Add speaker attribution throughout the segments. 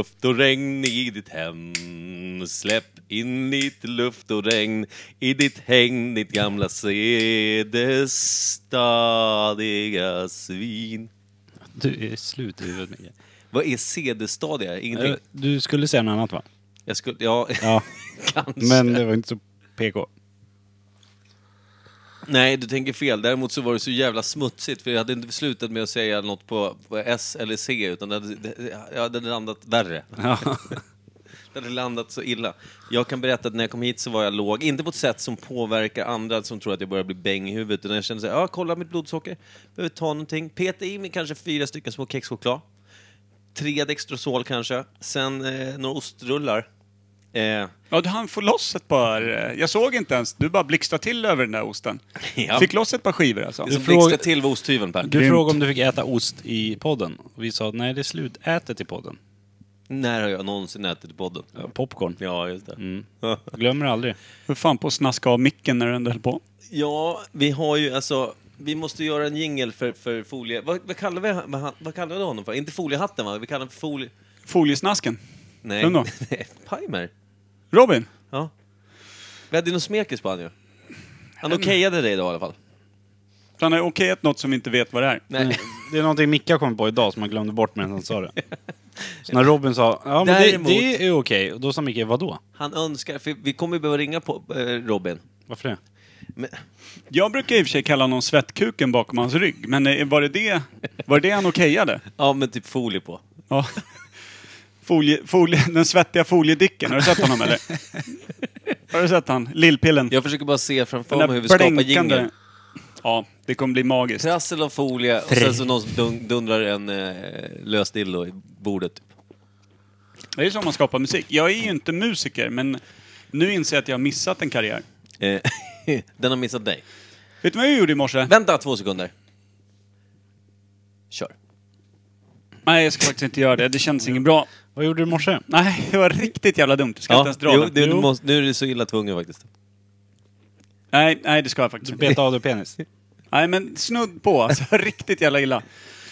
Speaker 1: Luft och regn i ditt hem Släpp in lite luft och regn i ditt häng Ditt gamla sedestadiga svin
Speaker 2: Du är slut i huvudet Micke.
Speaker 1: Vad är sedestadiga? Ingenting?
Speaker 2: Eh, Du skulle säga något annat va?
Speaker 1: Jag skulle... Ja,
Speaker 2: Ja.
Speaker 1: kanske.
Speaker 2: Men det var inte så PK.
Speaker 1: Nej, du tänker fel. Däremot så var det så jävla smutsigt för jag hade inte slutat med att säga något på, på S eller C utan det hade, det, jag hade landat värre.
Speaker 2: Ja.
Speaker 1: Det hade landat så illa. Jag kan berätta att när jag kom hit så var jag låg, inte på ett sätt som påverkar andra som tror att jag börjar bli bäng i huvudet, utan jag kände så här, ja kolla mitt blodsocker, behöver ta någonting, peta i mig kanske fyra stycken små kexchoklad, tre Dextrosol kanske, sen eh, några ostrullar. Eh,
Speaker 3: Ja, du hann få loss ett par... eh, Jag såg inte ens. Du bara blixtrade till över den där osten.
Speaker 1: Ja.
Speaker 3: Fick loss ett par skivor alltså.
Speaker 1: det som
Speaker 2: frågar-
Speaker 1: blixtrade till var osthyveln Per.
Speaker 2: Du frågade om du fick äta ost i podden. Och vi sa nej, det är slutätet i podden.
Speaker 1: När har jag någonsin ätit i podden?
Speaker 2: Popcorn.
Speaker 1: Ja, just det.
Speaker 2: Glömmer aldrig.
Speaker 3: Hur fan på att snaska av micken när du ändå höll på.
Speaker 1: Ja, vi har ju alltså... Vi måste göra en jingel för, för folie... Vad, vad, kallar vi, han- vad, han- vad kallar vi honom för? Inte foliehatten, va? Vi kallar honom för folie...
Speaker 3: Foliesnasken.
Speaker 1: Nej.
Speaker 3: Vem då?
Speaker 1: Nej, Palmer.
Speaker 3: Robin?
Speaker 1: Ja. Vi hade ju någon smekis på han ju. Han
Speaker 3: Mm.
Speaker 1: okejade dig idag i alla fall.
Speaker 3: Han har okejat något som vi inte vet vad det är.
Speaker 1: Nej.
Speaker 2: Eh, Det är någonting Micke har kommit på idag som han glömde bort medan han sa det. Så när Robin sa ja, men
Speaker 1: Däremot-
Speaker 2: det, det är okej, och då sa Micke vadå?
Speaker 1: Han önskar... För vi kommer ju behöva ringa på eh, Robin.
Speaker 2: Varför det?
Speaker 1: Men,
Speaker 3: Jag brukar i och för sig kalla honom svettkuken bakom hans rygg, men eh, var det det, var det det han okejade?
Speaker 1: ja, men typ folie på.
Speaker 3: Ja. Folie, folie, den svettiga foliedicken, har du sett honom eller? Har du sett han? Lillpillen.
Speaker 1: Jag försöker bara se framför
Speaker 3: Den
Speaker 1: mig
Speaker 3: där
Speaker 1: hur vi skapar
Speaker 3: blänkande-
Speaker 1: jingeln.
Speaker 3: Ja, det kommer bli magiskt.
Speaker 1: Trassel av folie och sen så någon som dun- dundrar en eh, lös dildo i bordet. typ.
Speaker 3: Det är så man skapar musik. Jag är ju inte musiker, men nu inser jag att jag har missat en karriär.
Speaker 1: Eh, Den har missat dig.
Speaker 3: Vet du vad jag gjorde i morse?
Speaker 1: Vänta två sekunder. Kör.
Speaker 3: Nej, jag ska faktiskt inte göra det. Det känns inget bra.
Speaker 2: Vad gjorde du i morse?
Speaker 3: Nej, det var riktigt jävla dumt. Jag ska inte ens dra
Speaker 1: jo,
Speaker 3: den.
Speaker 1: du, du
Speaker 3: Jo.
Speaker 1: måste, nu är du så illa tvungen faktiskt.
Speaker 3: Nej, nej, det ska jag faktiskt
Speaker 2: Du
Speaker 3: inte.
Speaker 2: bet av dig penis.
Speaker 3: Nej, men snudd på alltså. Riktigt jävla illa.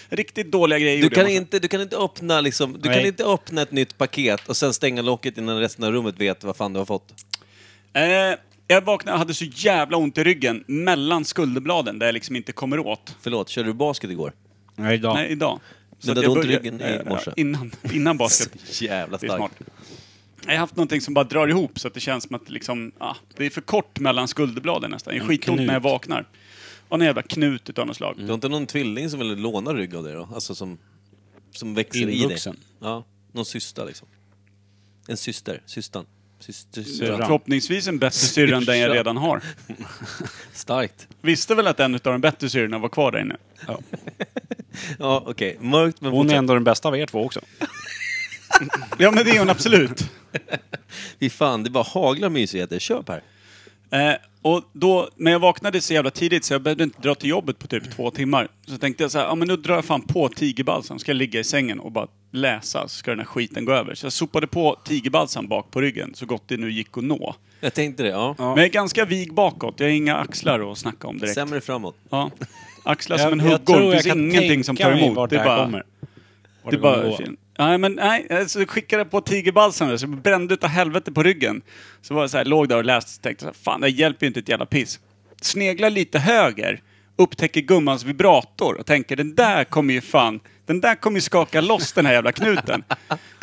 Speaker 3: Riktigt dåliga grejer
Speaker 1: Du
Speaker 3: gjorde
Speaker 1: kan,
Speaker 3: jag i morse.
Speaker 1: inte, du, kan inte öppna liksom, du
Speaker 2: Nej.
Speaker 1: kan inte öppna ett nytt paket och sen stänga locket innan resten av rummet vet vad fan du har fått.
Speaker 3: Eh, jag vaknade och hade så jävla ont i ryggen mellan skulderbladen där jag liksom inte kommer åt.
Speaker 1: Förlåt, körde du basket igår?
Speaker 2: Nej, idag.
Speaker 3: Nej, idag. Så
Speaker 1: Men
Speaker 3: att
Speaker 1: det
Speaker 3: jag
Speaker 1: hade ont i
Speaker 3: började-
Speaker 1: ryggen i
Speaker 3: eh,
Speaker 1: morse.
Speaker 3: Innan, innan basket.
Speaker 1: Jävla
Speaker 3: Det är smart.
Speaker 1: starkt.
Speaker 3: Jag har haft någonting som bara drar ihop så att det känns som att liksom, ah, det är för kort mellan skulderbladen nästan. Det är skitont
Speaker 2: knut.
Speaker 3: när jag vaknar. Och en jävla knut utav något slag.
Speaker 1: Du har inte någon tvilling som vill låna rygg av dig då? Alltså som, som växer i
Speaker 2: Invuxen.
Speaker 1: dig? Ja, någon syster liksom. En syster, systern. Syster,
Speaker 2: Syrran.
Speaker 3: Förhoppningsvis en bättre syrra än den jag redan har.
Speaker 1: Starkt.
Speaker 3: Visste väl att en utav de bättre syrrorna var kvar där inne.
Speaker 2: Ja.
Speaker 1: Ja, okej. Mörkt men
Speaker 2: Hon är
Speaker 1: fortsätt.
Speaker 2: ändå den bästa av er två också.
Speaker 3: Ja men det är hon absolut.
Speaker 1: Fy fan, det bara haglar mysigheter. Kör Per.
Speaker 3: Eh, och då, men jag vaknade så jävla tidigt så jag behövde inte dra till jobbet på typ två timmar. Så tänkte jag så här, ja men nu drar jag fan på tigerbalsam. Ska jag ligga i sängen och bara läsa så ska den här skiten gå över. Så jag sopade på tigerbalsam bak på ryggen så gott det nu gick att nå.
Speaker 1: Jag tänkte det, ja.
Speaker 3: Men jag är ganska vig bakåt. Jag har inga axlar att snacka om direkt.
Speaker 1: Sämre framåt.
Speaker 3: Ja. Axlar som en huggorm. Det finns ingenting som tar emot.
Speaker 2: vart
Speaker 3: det
Speaker 2: det
Speaker 3: är
Speaker 2: här
Speaker 3: bara...
Speaker 2: kommer. Vart
Speaker 3: Det
Speaker 2: det kommer
Speaker 3: bara...
Speaker 2: gå.
Speaker 3: Nej, men nej. Så skickade jag på tigerbalsam där, så jag brände utav helvete på ryggen. Så var jag så här, låg där och läste och tänkte så här, fan det hjälper ju inte ett jävla piss. Sneglar lite höger, upptäcker gummans vibrator och tänker den där kommer ju fan, den där kommer ju skaka loss den här jävla knuten.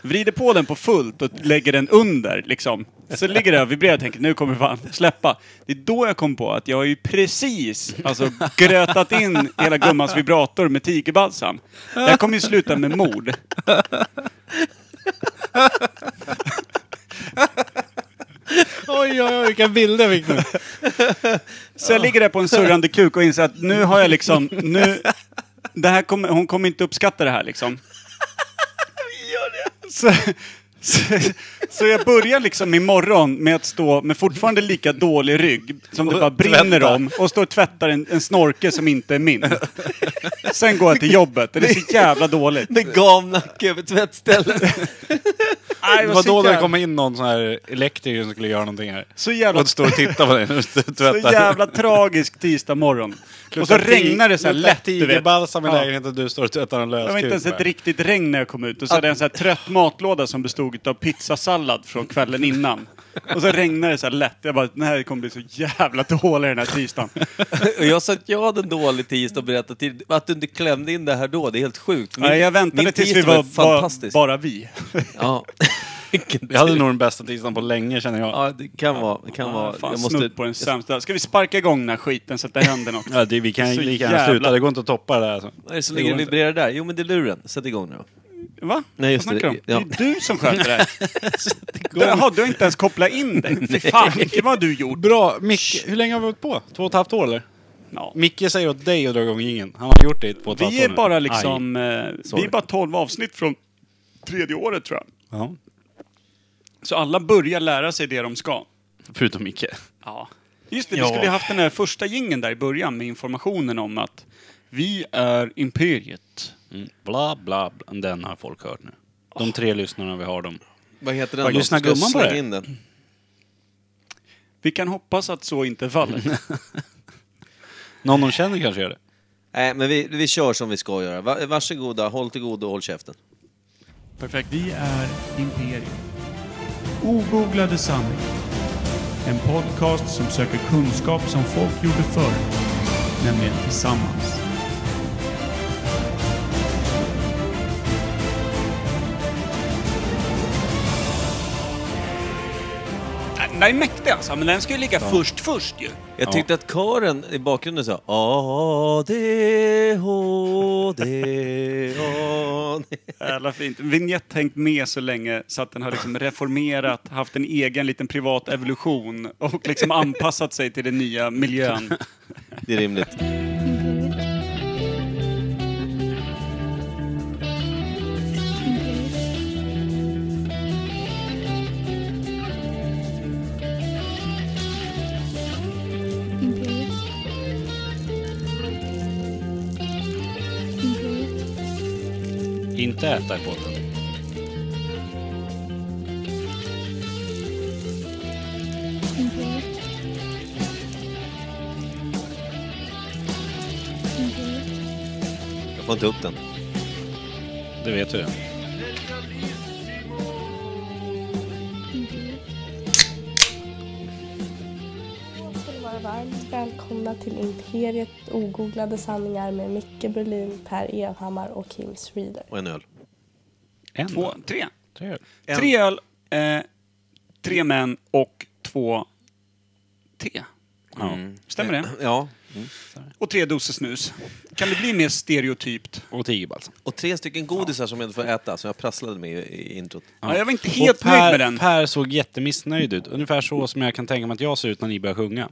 Speaker 3: Vrider på den på fullt och lägger den under liksom. Så ligger det och vibrerar och tänker nu kommer det fan släppa. Det är då jag kom på att jag har ju precis alltså, grötat in hela gummans vibrator med tigerbalsam. Det här kommer ju sluta med mord.
Speaker 2: Oj, oj, oj, vilka bilder vi fick nu.
Speaker 3: Så jag ligger där på en surrande kuk och inser att nu har jag liksom, nu, det här kommer, hon kommer inte uppskatta det här liksom. Så, så, så jag börjar liksom imorgon med att stå med fortfarande lika dålig rygg som det bara brinner om och står och tvättar en, en snorke som inte är min. Sen går jag till jobbet och det är så jävla dåligt.
Speaker 1: Med gamnacke över tvättstället.
Speaker 3: Nej,
Speaker 4: det
Speaker 3: jag
Speaker 4: var då
Speaker 3: sitter
Speaker 4: det
Speaker 3: här.
Speaker 4: kom in någon sån här elektriker som skulle göra någonting här.
Speaker 3: Så jävla,
Speaker 4: Och stå och titta på dig när du
Speaker 3: så
Speaker 4: tvättar.
Speaker 3: jävla tragisk tisdag morgon. Och så
Speaker 4: Klockan tio-
Speaker 3: regnar det så här
Speaker 4: klockan
Speaker 3: lätt,
Speaker 4: tio,
Speaker 3: du
Speaker 4: Det är
Speaker 3: vet.
Speaker 4: balsam i
Speaker 3: Ja.
Speaker 4: lägenheten och du står och tvättar en
Speaker 3: Det var inte ens
Speaker 4: löskuk.
Speaker 3: ett
Speaker 4: bara.
Speaker 3: riktigt regn när jag kom ut. Och så hade jag en så här trött matlåda som bestod av pizzasallad från kvällen innan. Och så regnade det så här lätt. Jag bara, den här kommer bli så jävla dålig den här tisdagen.
Speaker 1: Och jag sa att jag hade en dålig tisdag och berättade till Att du inte klämde in det här då, det är helt sjukt.
Speaker 3: Nej, jag väntade
Speaker 1: min
Speaker 3: tills vi
Speaker 1: tisdag
Speaker 3: var, var
Speaker 1: fantastisk.
Speaker 3: bara vi.
Speaker 1: Ja. Vilken
Speaker 4: Vi hade
Speaker 1: tur.
Speaker 4: nog den bästa tisdagen på länge känner jag.
Speaker 1: Ja, det kan vara. Det kan vara.
Speaker 3: Fan,
Speaker 1: jag måste...
Speaker 3: snudd på den sämsta. Ska vi sparka igång den här skiten så att det händer något?
Speaker 4: Ja, det, vi kan ju
Speaker 3: Så
Speaker 4: lika
Speaker 3: jävla-
Speaker 4: gärna sluta, det går inte att toppa det där. Alltså.
Speaker 1: Vad är det som
Speaker 4: Det
Speaker 1: ligger
Speaker 4: går
Speaker 1: och
Speaker 4: inte.
Speaker 1: vibrerar där? Jo, men det är luren. Sätt igång nu då.
Speaker 3: Va?
Speaker 1: Nej, just
Speaker 3: Vad snackar
Speaker 1: det.
Speaker 3: du om?
Speaker 1: Ja.
Speaker 3: Det är du som sköter det här. Jaha, du har inte ens kopplat in dig. Fy fan, Micke, vad har du gjort?
Speaker 4: Bra, Micke, hur länge har vi varit på? Två och ett halvt år eller?
Speaker 3: Ja.
Speaker 4: Micke säger åt dig att dra igång ingen. Han har gjort det i två och ett halvt år
Speaker 3: Vi är
Speaker 4: nu.
Speaker 3: bara
Speaker 4: Aj.
Speaker 3: liksom... eh, vi
Speaker 1: Sorry.
Speaker 3: är bara 12 avsnitt från tredje året tror jag.
Speaker 4: Ja.
Speaker 3: Så alla börjar lära sig det de ska.
Speaker 4: Förutom Micke.
Speaker 3: Ja. Just det, vi
Speaker 4: Ja.
Speaker 3: skulle ju haft den här första gingen där i början med informationen om att vi är Imperiet.
Speaker 4: Mm. Bla, bla, bla. Den har folk hört nu. De tre lyssnarna vi har dem.
Speaker 1: Vad heter den då?
Speaker 4: lyssnar
Speaker 1: Ska jag
Speaker 4: gumman på
Speaker 1: slänga
Speaker 4: det?
Speaker 1: in den?
Speaker 3: Vi kan hoppas att så inte är fallet.
Speaker 4: Någon de känner kanske gör det.
Speaker 1: Nej, men vi, vi kör som vi ska göra. Va- Varsågoda, håll till godo och håll käften.
Speaker 3: Perfekt. Vi är Imperium. Ogooglade sanning. En podcast som söker kunskap som folk gjorde förr. Nämligen tillsammans. Den där är mäktig alltså, men den ska ju ligga först först ju.
Speaker 1: Jag tyckte att kören i bakgrunden sa A, D, H, D, A, D.
Speaker 3: Jävla fint. Vignett hängt med så länge så att den har liksom reformerat, haft en egen liten privat evolution och liksom anpassat sig till den nya miljön.
Speaker 1: Det är rimligt.
Speaker 5: Imperiet. Imperiet. Imperiet. Imperiet.
Speaker 4: Inte äta i båten.
Speaker 5: Imperiet. Imperiet.
Speaker 1: Jag får inte upp den.
Speaker 4: Det vet du det.
Speaker 6: ska ni vara varmt välkomna till Imperiet ogooglade sanningar med Micke Berlin, Per Evhammar och Kim Reader.
Speaker 1: Och en öl.
Speaker 4: En.
Speaker 3: Två, tre.
Speaker 4: Tre.
Speaker 3: Tre öl, eh, tre män och två te. Ja.
Speaker 4: Mm.
Speaker 3: Stämmer det?
Speaker 1: Ja.
Speaker 3: Och tre doser snus. Kan det bli mer stereotypt?
Speaker 4: Och tio balsam.
Speaker 1: Och tre stycken godisar som jag inte får äta, som jag prasslade med i- i introt.
Speaker 3: Ja, jag var inte helt
Speaker 4: Och per,
Speaker 3: nöjd med den.
Speaker 4: Per såg jättemissnöjd ut. Ungefär så som jag kan tänka mig att jag ser ut när ni börjar sjunga.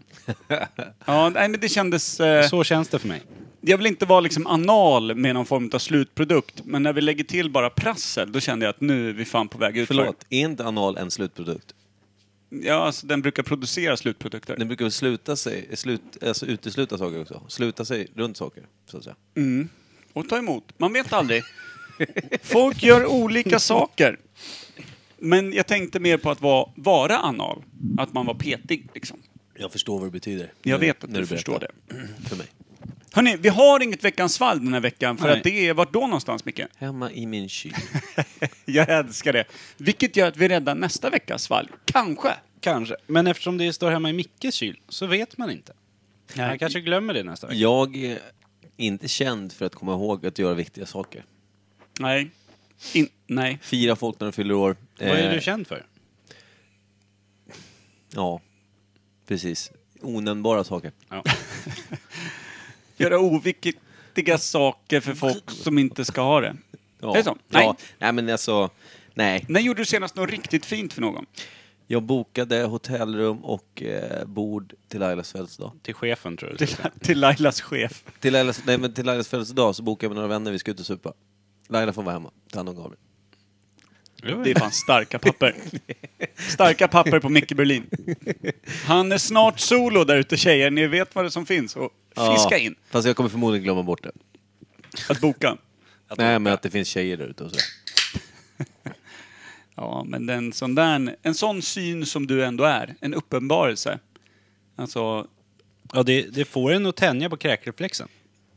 Speaker 3: Ja, nej, men det kändes... Eh,
Speaker 4: Så känns det för mig.
Speaker 3: jag vill inte vara liksom anal med någon form av slutprodukt, men när vi lägger till bara prassel, då kände jag att nu är vi fan på väg ut.
Speaker 1: Förlåt, är inte anal en slutprodukt?
Speaker 3: Ja, alltså den brukar producera slutprodukter.
Speaker 1: Den brukar väl sluta sig, slut, alltså utesluta saker också? Sluta sig runt saker, så att säga.
Speaker 3: Och ta emot. Man vet aldrig. Folk gör olika saker. Men jag tänkte mer på att vara, vara anal. Att man var petig, liksom.
Speaker 1: Jag förstår vad det betyder.
Speaker 3: Jag
Speaker 1: Nu-
Speaker 3: vet att
Speaker 1: Mm. när
Speaker 3: du förstår
Speaker 1: berättar. För mig.
Speaker 3: Hörni, vi har inget Veckans fall den här veckan, för
Speaker 4: Nej.
Speaker 3: att det är vart då någonstans, Micke?
Speaker 1: Hemma i min kyl.
Speaker 3: Jag älskar det. Vilket gör att vi räddar nästa Veckans fall. Kanske.
Speaker 4: Kanske. Men eftersom det står hemma i Mickes kyl så vet man inte.
Speaker 3: Nej.
Speaker 4: Han kanske glömmer det nästa vecka.
Speaker 1: Jag är inte känd för att komma ihåg att göra viktiga saker.
Speaker 3: Nej. In, nej.
Speaker 1: Fira folk när de fyller år.
Speaker 4: Vad är
Speaker 1: Eh,
Speaker 4: du känd för?
Speaker 1: Ja, precis. Onämnbara saker.
Speaker 4: Ja.
Speaker 3: Göra oviktiga saker för folk som inte ska ha det.
Speaker 1: Ja.
Speaker 3: Är det så?
Speaker 1: Nej. Ja.
Speaker 3: Nej.
Speaker 1: Nej, men alltså... Nej.
Speaker 3: När gjorde du senast något riktigt fint för någon?
Speaker 1: Jag bokade hotellrum och eh, bord till Lailas födelsedag.
Speaker 4: Till chefen tror du.
Speaker 3: Till, till Lailas chef.
Speaker 1: Till Lailas, nej, men till Lailas födelsedag så bokade jag med några vänner, vi ska ut och supa. Laila får vara hemma, ta hand om Gabriel.
Speaker 3: Det är fan starka papper. Starka papper på Micke Berlin. Han är snart solo där ute tjejer, ni vet vad det som finns. Och fiska
Speaker 1: Ja,
Speaker 3: in
Speaker 1: Fast jag kommer förmodligen glömma bort det.
Speaker 3: att boka.
Speaker 1: Nej, men att det finns tjejer där ute och sådär.
Speaker 3: Ja, men den, sån där, en sån syn som du ändå är, en uppenbarelse. Alltså,
Speaker 2: Ja, det, det får en att tänja på kräkreflexen.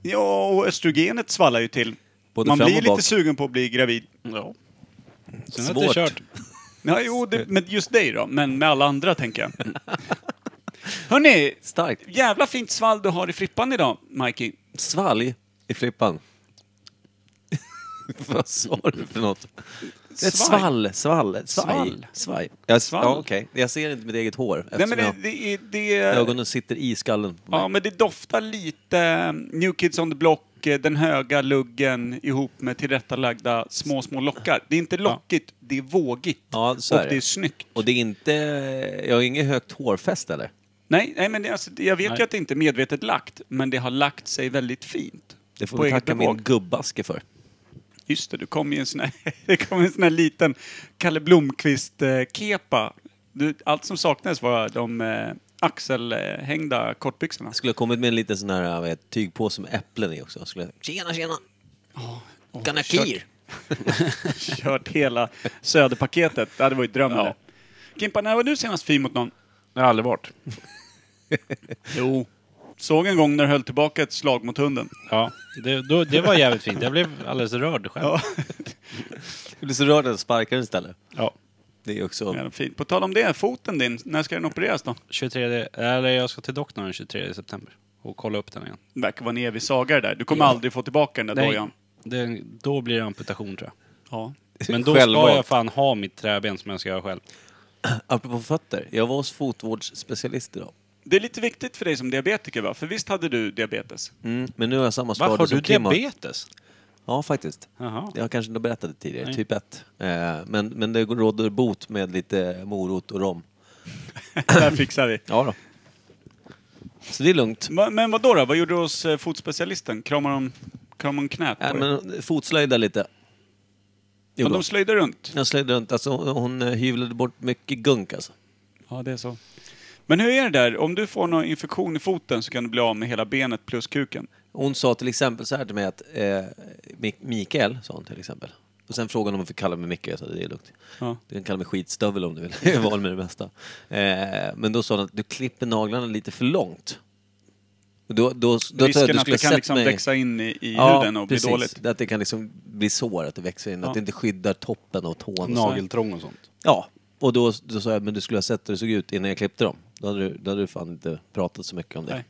Speaker 3: ja, och östrogenet svallar ju till.
Speaker 1: Både
Speaker 3: Man
Speaker 1: fram
Speaker 3: blir
Speaker 1: och
Speaker 3: lite
Speaker 1: bak.
Speaker 3: sugen på att bli gravid.
Speaker 2: Ja. Sen att det är
Speaker 1: Svårt.
Speaker 2: kört.
Speaker 3: Ja, jo, det, med just dig då, men med alla andra tänker jag. Hörni,
Speaker 1: Starkt.
Speaker 3: jävla fint svall du har i frippan idag, Mikey.
Speaker 1: Svalg i flippan. Vad sa du för något? Ett svall, svall, ett
Speaker 3: Svall.
Speaker 1: svaj. Svaj. Jag,
Speaker 3: Svall.
Speaker 1: Ja, okej. jag ser inte mitt eget hår
Speaker 3: Nej,
Speaker 1: eftersom
Speaker 3: men det, det, är- det,
Speaker 1: jag,
Speaker 3: är-
Speaker 1: ögonen sitter i skallen. på mig.
Speaker 3: ja, men det doftar lite eh, New Kids on the Block, eh, den höga luggen ihop med tillrättalagda små, små lockar. Det är inte lockigt, det är vågigt.
Speaker 1: Ja, så
Speaker 3: och
Speaker 1: är det.
Speaker 3: det är snyggt.
Speaker 1: Och det är inte... Jag har inget högt hårfäste eller?
Speaker 3: Nej, nej men det, alltså, det- jag vet
Speaker 2: Nej.
Speaker 3: ju att det inte är medvetet lagt, men det har lagt sig väldigt fint.
Speaker 1: Det får
Speaker 3: På
Speaker 1: vi
Speaker 3: eget
Speaker 1: tacka
Speaker 3: bevåg.
Speaker 1: min gubbaske för.
Speaker 3: Just det, du kom i en sån här, det kom en sån här liten Kalle Blomkvist-kepa. Allt som saknades var de eh, axelhängda kortbyxorna.
Speaker 1: Jag skulle ha kommit med en liten sån här vad heter det, tygpåse med äpplen i också. Jag skulle, tjena, tjena! Oh, Ganakir!
Speaker 3: Kört hela Söderpaketet. Ja, det var ju drömmen det. Kimpa, när var du senast fin mot någon?
Speaker 2: Det har aldrig varit.
Speaker 3: Jo. Såg en gång när du höll tillbaka ett slag mot hunden.
Speaker 2: Ja, det, då, det var jävligt fint. Jag blev alldeles rörd själv.
Speaker 3: Ja,
Speaker 1: Jag blir så rörd att jag sparkar den istället.
Speaker 2: Ja.
Speaker 1: Det är också...
Speaker 3: jävla fint. På tal om det, foten din, när ska den opereras då?
Speaker 2: 23, eller jag ska till doktorn den 23 september och kolla upp den igen.
Speaker 3: Det verkar vara en evig saga det där. Du kommer aldrig få tillbaka den där dojan.
Speaker 2: det, då blir det amputation tror jag.
Speaker 3: Ja.
Speaker 2: Men då
Speaker 1: Självvalt.
Speaker 2: ska jag fan ha mitt träben som jag ska ha själv.
Speaker 1: Apropå fötter, jag var hos fotvårdsspecialist idag.
Speaker 3: Det är lite viktigt för dig som diabetiker va? För visst hade du diabetes?
Speaker 1: Mm. Men nu har jag samma
Speaker 2: Varför
Speaker 1: skador
Speaker 2: har
Speaker 1: som
Speaker 2: du
Speaker 1: Kim har.
Speaker 2: diabetes?
Speaker 1: Ja, faktiskt.
Speaker 2: Jaha.
Speaker 1: Jag kanske inte berättade det tidigare,
Speaker 2: Nej.
Speaker 1: typ 1. Eh, men, men det råder bot med lite morot och rom.
Speaker 3: Det där fixar vi.
Speaker 1: Ja då. Så det är lugnt.
Speaker 3: Va- Men vad då, då? Vad gjorde du hos eh, fotspecialisten? Kramade de, kramade de knät på
Speaker 1: Äh,
Speaker 3: dig?
Speaker 1: men fotslöjda lite.
Speaker 3: Ja,
Speaker 1: Jo,
Speaker 3: de slöjde runt?
Speaker 1: Jag slöjde runt. Alltså, hon- hon eh, hyvlade bort mycket gunk alltså.
Speaker 3: Ja, det är så. Men hur är det där? Om du får någon infektion i foten så kan du bli av med hela benet plus kuken.
Speaker 1: Hon sa till exempel så här till mig att eh, Mik- Mikael, sa hon till exempel. Och sen frågade hon om hon fick kalla mig Micke, jag sa det är lugnt.
Speaker 3: Ja.
Speaker 1: Du kan kalla mig skitstövel om du vill, jag är van med det mesta. Eh, men då sa hon att du klipper naglarna lite för långt. Och Då, då, då, tror jag
Speaker 3: Risken
Speaker 1: du
Speaker 3: att
Speaker 1: skulle
Speaker 3: det kan
Speaker 1: sett
Speaker 3: liksom
Speaker 1: mig-
Speaker 3: växa in i, i huden och bli dåligt.
Speaker 1: Att det kan liksom bli sår, att det växer in,
Speaker 3: Ja.
Speaker 1: att det inte skyddar toppen och tån. och så.
Speaker 2: Nageltrång och sånt.
Speaker 1: Ja, och då, då sa jag, men du skulle ha sett hur det såg ut innan jag klippte dem. Då hade du, då hade du fan inte pratat så mycket om det.
Speaker 3: Nej.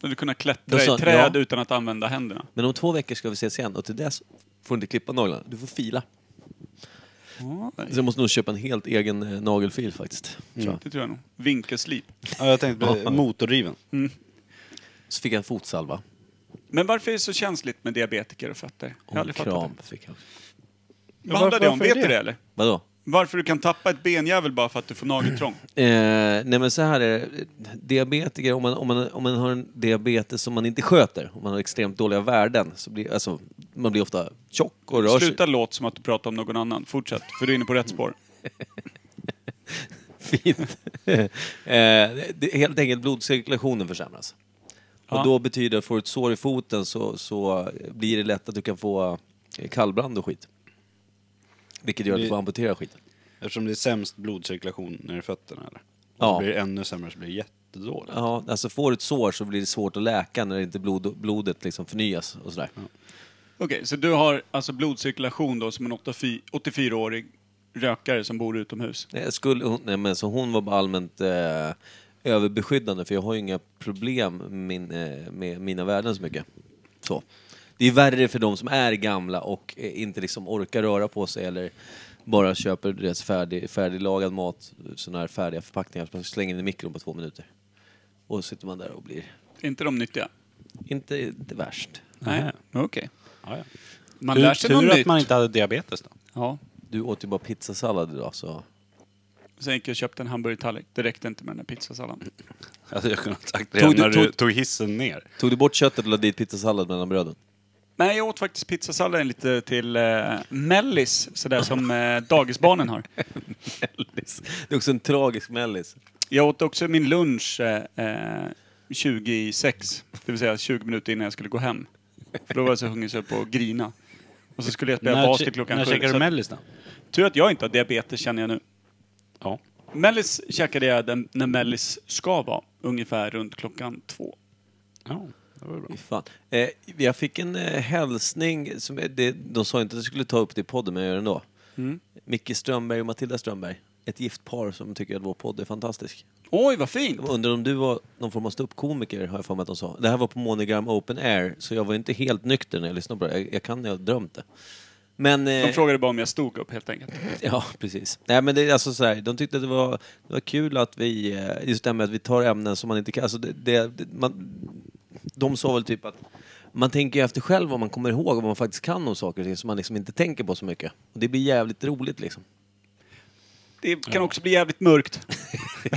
Speaker 3: Då hade Du kunde
Speaker 1: Då
Speaker 3: klättra
Speaker 1: sa-
Speaker 3: i träd
Speaker 1: ja.
Speaker 3: utan att använda händerna.
Speaker 1: Men om två veckor ska vi ses igen och till dess får du inte klippa naglarna, du får fila. Så jag måste nog köpa en helt egen eh, nagelfil faktiskt. Tror jag.
Speaker 3: Det tror jag nog. Vinkelslip.
Speaker 2: Ja, jag tänkte motorriven.
Speaker 1: Så fick jag en fotsalva
Speaker 3: Men varför är det så känsligt med diabetiker och fötter? Jag
Speaker 1: och
Speaker 3: har
Speaker 1: en
Speaker 3: aldrig fattat
Speaker 1: kram. Fick jag.
Speaker 3: det. Vad handlar det om?
Speaker 2: varför är
Speaker 3: Vet du
Speaker 2: det?
Speaker 3: det eller?
Speaker 1: Vadå?
Speaker 3: Varför du kan tappa ett benjävel bara för att du får nageltrång?
Speaker 1: Eh, nej men så här är det. Diabetiker, om man, om, man, om man har en diabetes som man inte sköter, om man har extremt dåliga värden, så blir alltså, man blir ofta tjock och rör
Speaker 3: Sluta låt som att du pratar om någon annan. Fortsätt, för du är inne på rätt spår.
Speaker 1: sig fint. eh, det, helt enkelt blodcirkulationen försämras.
Speaker 3: Ja.
Speaker 1: Och då betyder det att får du ett sår i foten så, så blir det lätt att du kan få eh, kallbrand och skit. Vilket gör att du
Speaker 2: Det-
Speaker 1: får amputera skiten.
Speaker 2: Eftersom det är sämst blodcirkulation när det är fötterna eller? Och
Speaker 1: Ja.
Speaker 2: så blir det ännu sämre så blir det jättedåligt.
Speaker 1: Ja, alltså får du ett sår så blir det svårt att läka när inte blod, blodet liksom förnyas och sådär.
Speaker 3: Okej, så du har alltså blodcirkulation då som en 84 84-årig rökare som bor utomhus?
Speaker 1: Nej, jag skulle, hon, nej, men så hon var bara allmänt eh, överbeskyddande för jag har ju inga problem med min, eh, med mina värden så mycket. Så. Det är värre för de som är gamla och eh, inte liksom orkar röra på sig eller bara köper deras färdig, färdiglagad mat, sådana här färdiga förpackningar som man slänger in i mikron på två minuter. Och så sitter man där och blir
Speaker 3: Inte de nyttiga?
Speaker 1: inte, inte värst.
Speaker 3: Nej, okej.
Speaker 2: Ja, ja.
Speaker 3: Man
Speaker 2: tur,
Speaker 3: lär sig något
Speaker 2: tur att
Speaker 3: nytt.
Speaker 2: man inte hade diabetes då.
Speaker 3: Ja.
Speaker 1: Du åt ju bara pizzasallad idag så...
Speaker 3: Sen gick jag och köpte en hamburgertallrik. Det räckte inte med den där pizzasalladen.
Speaker 2: Alltså jag kunde ha sagt
Speaker 1: Tog
Speaker 2: redan
Speaker 1: du-
Speaker 2: när du
Speaker 1: tog-
Speaker 2: tog hissen ner.
Speaker 1: Tog du bort köttet och la dit pizzasallad mellan bröden?
Speaker 3: Nej, jag åt faktiskt pizzasalladen lite till eh, mellis, sådär som eh, dagisbarnen har.
Speaker 1: Mellis. Det är också en tragisk mellis.
Speaker 3: Jag åt också min lunch eh, eh, 20 i sex, det vill säga 20 minuter innan jag skulle gå hem. För då var jag så hungrig så jag höll på att grina. Och så skulle jag spela
Speaker 2: När,
Speaker 3: bas till
Speaker 2: che-
Speaker 3: klockan
Speaker 2: när
Speaker 3: sju.
Speaker 2: checkade
Speaker 3: så
Speaker 2: du
Speaker 3: att-
Speaker 2: mellis då?
Speaker 3: Tur att jag inte har diabetes känner jag nu.
Speaker 4: Ja.
Speaker 3: Mellis käkade jag den, när Mellis ska vara, ungefär runt klockan två.
Speaker 4: ja, det var ju bra.
Speaker 1: Fy Fan. Eh, jag fick en eh, hälsning, som, är- det, de sa inte att jag skulle ta upp det i podden, men jag gör det ändå. Micke Strömberg och Matilda Strömberg. Ett gift par som tycker att vår podd är fantastisk.
Speaker 3: Oj, vad fint!
Speaker 1: De undrar om du var någon form av ståuppkomiker, har jag för mig att de sa. Det här var på Monogram Open Air, så jag var inte helt nykter när jag lyssnade på det. Jag, jag kan, jag har drömt det. Men... eh,
Speaker 3: De frågade bara om jag stod upp helt enkelt.
Speaker 1: Ja, precis. Nej, men det, är alltså så här, de tyckte att det var, det var kul att vi, eh, just det här med att vi tar ämnen som man inte kan, alltså det, det, det, man, de sa väl typ att man tänker ju efter själv vad man kommer ihåg och vad man faktiskt kan om saker och ting som man liksom inte tänker på så mycket. Och det blir jävligt roligt liksom.
Speaker 3: Det kan också bli jävligt mörkt.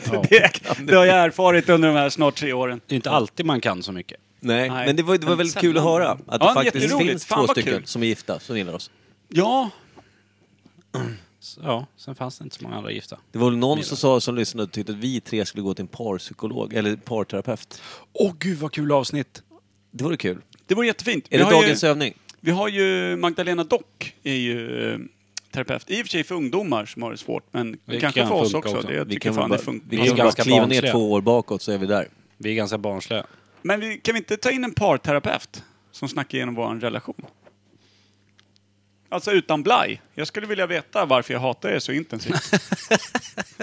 Speaker 4: Ja.
Speaker 3: det, det har jag erfarit under de här snart tre åren.
Speaker 4: Det är inte alltid man kan så mycket.
Speaker 1: Nej,
Speaker 3: Nej.
Speaker 1: men det var, det var
Speaker 3: Men
Speaker 1: väldigt
Speaker 3: sen-
Speaker 1: kul att höra att
Speaker 3: Ja,
Speaker 1: det faktiskt
Speaker 3: jätteroligt.
Speaker 1: finns
Speaker 3: Fan,
Speaker 1: två
Speaker 3: vad
Speaker 1: stycken
Speaker 3: kul.
Speaker 1: som är gifta, som gillar oss.
Speaker 3: Ja,
Speaker 4: Så, ja, sen fanns det inte så många andra gifta.
Speaker 1: Det var väl någon som sa, som lyssnade och tyckte att vi tre skulle gå till en parpsykolog, eller parterapeut.
Speaker 4: Åh gud vad kul avsnitt!
Speaker 1: Det vore kul.
Speaker 3: det vore jättefint.
Speaker 1: Är
Speaker 3: Vi
Speaker 1: det
Speaker 3: har ju-
Speaker 1: dagens övning?
Speaker 3: Vi har ju Magdalena Dock är ju eh, terapeut. I och för sig för ungdomar som har det svårt, men
Speaker 4: Det
Speaker 3: kanske
Speaker 4: kan
Speaker 3: för oss
Speaker 4: funka
Speaker 3: också.
Speaker 4: också.
Speaker 3: Det, jag
Speaker 1: Vi
Speaker 3: tycker
Speaker 1: kan väl
Speaker 3: fan det
Speaker 1: bara,
Speaker 3: funkar.
Speaker 1: vi
Speaker 4: Man är
Speaker 1: kan bara
Speaker 4: ganska
Speaker 1: kliva ner
Speaker 4: barnsliga.
Speaker 1: två år bakåt så är vi där.
Speaker 4: Vi är ganska barnsliga.
Speaker 3: Men vi, kan vi inte ta in en parterapeut som snackar igenom vår relation? Alltså utan blaj. Jag skulle vilja veta varför jag hatar er så intensivt.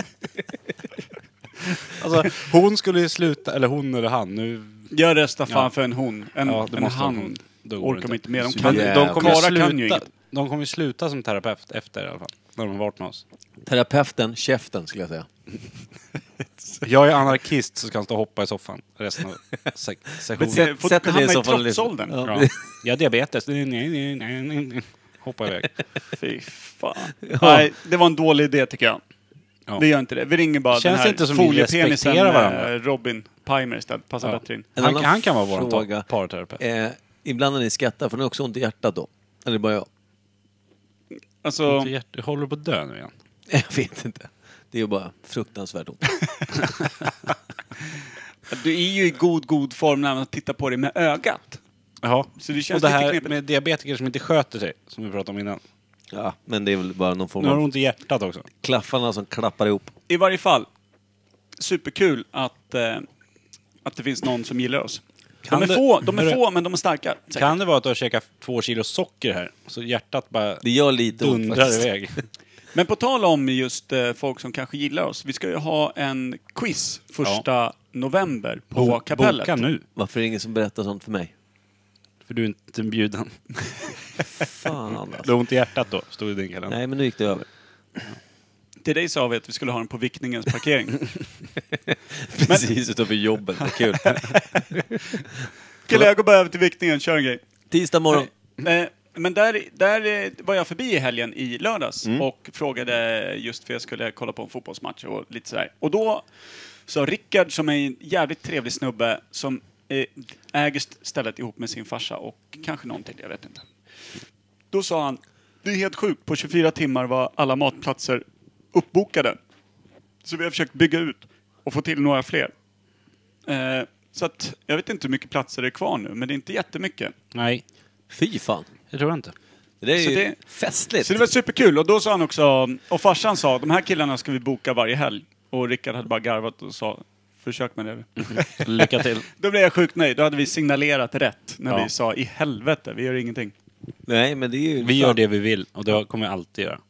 Speaker 4: Alltså, hon skulle ju sluta, eller hon eller han, nu...
Speaker 3: Jag röstar fan
Speaker 4: Ja.
Speaker 3: för en hon. En,
Speaker 4: Ja, det
Speaker 3: en
Speaker 4: måste vara en
Speaker 3: han.
Speaker 4: hon. Då går
Speaker 3: Orkar
Speaker 4: det
Speaker 3: man
Speaker 4: inte.
Speaker 3: inte med. De
Speaker 1: Så
Speaker 3: kan,
Speaker 1: jävla-
Speaker 3: de kommer
Speaker 1: Karlar
Speaker 3: sluta. kan ju inget.
Speaker 4: de kommer ju sluta som terapeut efter i alla fall, när de har varit med oss.
Speaker 1: Terapeuten, käften skulle jag säga.
Speaker 4: Jag är anarkist så ska han stå och hoppa i soffan resten av se-
Speaker 3: Men se-
Speaker 4: sessionen.
Speaker 3: Eh, får-
Speaker 1: Sätt dig ner
Speaker 3: hamnar
Speaker 1: i
Speaker 3: i
Speaker 1: soffan och lyssna.
Speaker 3: trotsåldern.
Speaker 1: Ja.
Speaker 4: Ja. Jag har diabetes. Nej, nej, nej, nej, nej. Hoppa iväg.
Speaker 3: Fy fan. Nej, det var en dålig idé tycker jag.
Speaker 4: Ja.
Speaker 3: Vi gör inte det. Vi ringer bara
Speaker 4: Känns
Speaker 3: den
Speaker 4: det
Speaker 3: här
Speaker 4: inte som vi
Speaker 3: foliepenisen
Speaker 4: respekterar varandra?
Speaker 3: eh, Robin Pimer istället. Passar
Speaker 4: Ja.
Speaker 3: bättre in.
Speaker 1: En
Speaker 4: Han,
Speaker 1: annan
Speaker 4: han kan vara vår
Speaker 1: fråga.
Speaker 4: ta- parterapeut.
Speaker 1: Eh, ibland när ni skrattar, för ni har också ont i hjärtat då? Eller bara jag?
Speaker 3: Alltså,
Speaker 4: Inte hjärt- Håller du på att dö nu igen?
Speaker 1: Jag vet inte. Det är ju bara fruktansvärt ont.
Speaker 3: du är ju i god, god form när man tittar på dig med ögat.
Speaker 4: Ja.
Speaker 3: Så det känns
Speaker 4: och det
Speaker 3: lite
Speaker 4: här
Speaker 3: knepigt.
Speaker 4: med diabetiker som inte sköter sig, som vi pratade om innan.
Speaker 1: Ja, men det är väl bara någon form
Speaker 4: Nu har
Speaker 1: av
Speaker 4: de ont i hjärtat också.
Speaker 1: klaffarna som klappar ihop.
Speaker 3: I varje fall, superkul att, eh, att det finns någon som gillar oss.
Speaker 4: Kan
Speaker 3: de är
Speaker 4: det-
Speaker 3: få, de är
Speaker 4: Hörru.
Speaker 3: få men de är starka. säkert.
Speaker 4: Kan det vara att du har käkat två kilo socker här? Så hjärtat bara
Speaker 1: Det gör lite ont
Speaker 4: dundrar
Speaker 1: faktiskt.
Speaker 4: iväg.
Speaker 3: Men på tal om just eh, folk som kanske gillar oss. Vi ska ju ha en quiz första november på
Speaker 4: Bo-
Speaker 3: kapellet.
Speaker 4: Boka nu,
Speaker 1: Varför är det ingen som berättar sånt för mig?
Speaker 4: för du är inte bjuden.
Speaker 1: Fan
Speaker 4: Du
Speaker 1: alltså.
Speaker 4: har ont i hjärtat då, stod i din kalender.
Speaker 1: Nej, men nu gick det över.
Speaker 3: Till dig sa vi att vi skulle ha den på Vikningens parkering.
Speaker 1: Precis utanför jobbet, vad kul.
Speaker 3: Killar, jag går bara över till viktningen, kör en grej.
Speaker 1: Tisdag morgon.
Speaker 3: Eh, Men där, där eh, var jag förbi i helgen i lördags och frågade just för jag skulle kolla på en fotbollsmatch och lite sådär. Och då sa Rickard, som är en jävligt trevlig snubbe, som eh, äger st- stället ihop med sin farsa och kanske någon till, jag vet inte. Då sa han, det är helt sjukt, på 24 timmar var alla matplatser uppbokade. Så vi har försökt bygga ut och få till några fler. Eh, så att, jag vet inte hur mycket platser det är kvar nu, men det är inte jättemycket.
Speaker 4: Nej,
Speaker 1: Fy fan.
Speaker 4: det tror jag inte.
Speaker 1: Det där är
Speaker 3: Så
Speaker 1: ju
Speaker 3: det-
Speaker 1: festligt.
Speaker 3: Så det var superkul. Och då sa han också, och farsan sa, de här killarna ska vi boka varje helg. Och Rickard hade bara garvat och sa, försök med det.
Speaker 4: Lycka till.
Speaker 3: Då blev jag sjukt nöjd. Då hade vi signalerat rätt när
Speaker 4: Ja.
Speaker 3: vi sa, i helvete, vi gör ingenting.
Speaker 1: Nej, men det är ju...
Speaker 4: Vi gör det vi vill och det kommer jag alltid göra.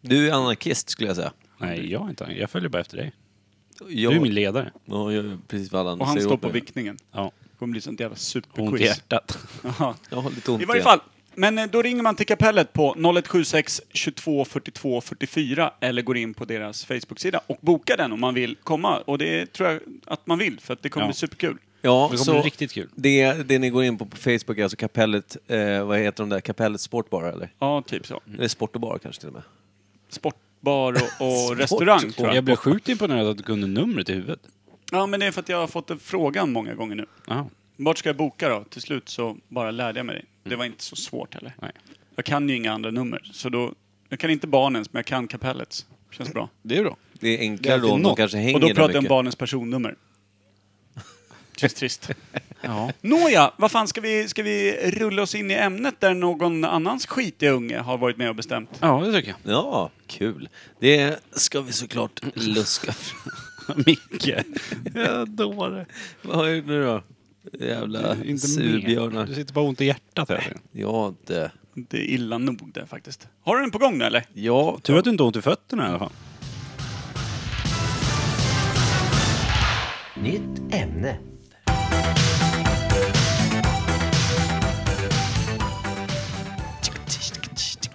Speaker 1: Du är anarkist skulle jag säga.
Speaker 4: Nej, jag är inte. Jag följer bara efter dig.
Speaker 1: Jag,
Speaker 4: Du är min ledare.
Speaker 1: Ja, jag gör precis vad alla andra
Speaker 3: Och han
Speaker 1: säger
Speaker 3: står
Speaker 1: åt
Speaker 3: på
Speaker 1: mig.
Speaker 3: viktningen.
Speaker 4: Ja.
Speaker 3: Det kommer bli sånt jävla
Speaker 4: Ont i
Speaker 3: superquiz.
Speaker 4: hjärtat.
Speaker 3: Jaha.
Speaker 1: Jag har lite ont
Speaker 3: I varje
Speaker 1: igen.
Speaker 3: fall. Men eh, då ringer man till kapellet på 0176 22 42 44 eller går in på deras Facebook-sida och bokar den om man vill komma. Och det tror jag att man vill, för att det kommer
Speaker 4: Ja.
Speaker 3: bli superkul.
Speaker 1: Ja,
Speaker 4: Det kommer
Speaker 1: så
Speaker 4: bli riktigt kul.
Speaker 1: Det, det ni går in på på Facebook är alltså kapellet, eh, vad heter de där, kapellet sportbar eller?
Speaker 3: Ja, typ så.
Speaker 4: Mm.
Speaker 1: Eller sport och bar kanske till och med.
Speaker 3: sportbar och, och
Speaker 1: Sport-
Speaker 3: restaurang tror
Speaker 4: Jag
Speaker 3: jag.
Speaker 4: blev sjukt imponerad att du kunde numret i huvudet.
Speaker 3: Ja, men det är för att jag har fått den frågan många gånger nu.
Speaker 4: Jaha.
Speaker 3: Vart ska jag boka då? Till slut så bara lärde jag mig det. Det var inte så svårt heller.
Speaker 4: Nej.
Speaker 3: Jag kan ju inga andra nummer, så då... Jag kan inte barnens, men jag kan kapellets. Känns bra.
Speaker 4: Det är bra.
Speaker 1: Det är enklare
Speaker 4: Det är
Speaker 1: då om de
Speaker 4: något.
Speaker 1: kanske hänger
Speaker 3: Och då
Speaker 1: där
Speaker 3: pratar jag om
Speaker 1: mycket.
Speaker 3: barnens personnummer. Känns trist.
Speaker 4: Ja.
Speaker 3: Nåja, vad fan ska vi, ska vi rulla oss in i ämnet där någon annans skitiga unge har varit med och bestämt?
Speaker 4: ja, det tycker jag.
Speaker 1: Ja, kul. Det ska vi såklart luska fram.
Speaker 4: Micke. Ja, dåre.
Speaker 1: Vad har jag gjort nu då? Jävla
Speaker 4: Inte mer. Du
Speaker 1: surbjörnar.
Speaker 4: sitter bara ont i hjärtat hela tiden.
Speaker 1: Ja, inte...
Speaker 3: Det är illa nog det faktiskt. Har du den på gång nu eller?
Speaker 1: Ja, typ-
Speaker 4: Tur att du inte har ont i fötterna i alla fall.
Speaker 7: Nytt ämne.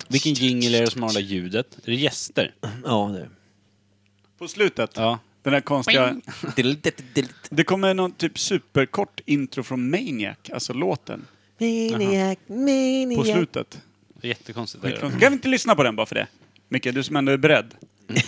Speaker 4: Vilken jingle är det som har det där ljudet? Är det gäster?
Speaker 1: ja det.
Speaker 3: På slutet?
Speaker 4: Ja.
Speaker 3: Den där konstiga...
Speaker 1: Dill, dill, dill, dill.
Speaker 3: Det kommer någon typ superkort intro från Maniac, alltså låten,
Speaker 1: Maniac, maniac.
Speaker 3: på slutet.
Speaker 4: Det är Jättekonstigt. det är
Speaker 3: Kan
Speaker 4: det.
Speaker 3: vi inte lyssna på den bara för det? Micke, du som ändå är beredd.
Speaker 4: Mm.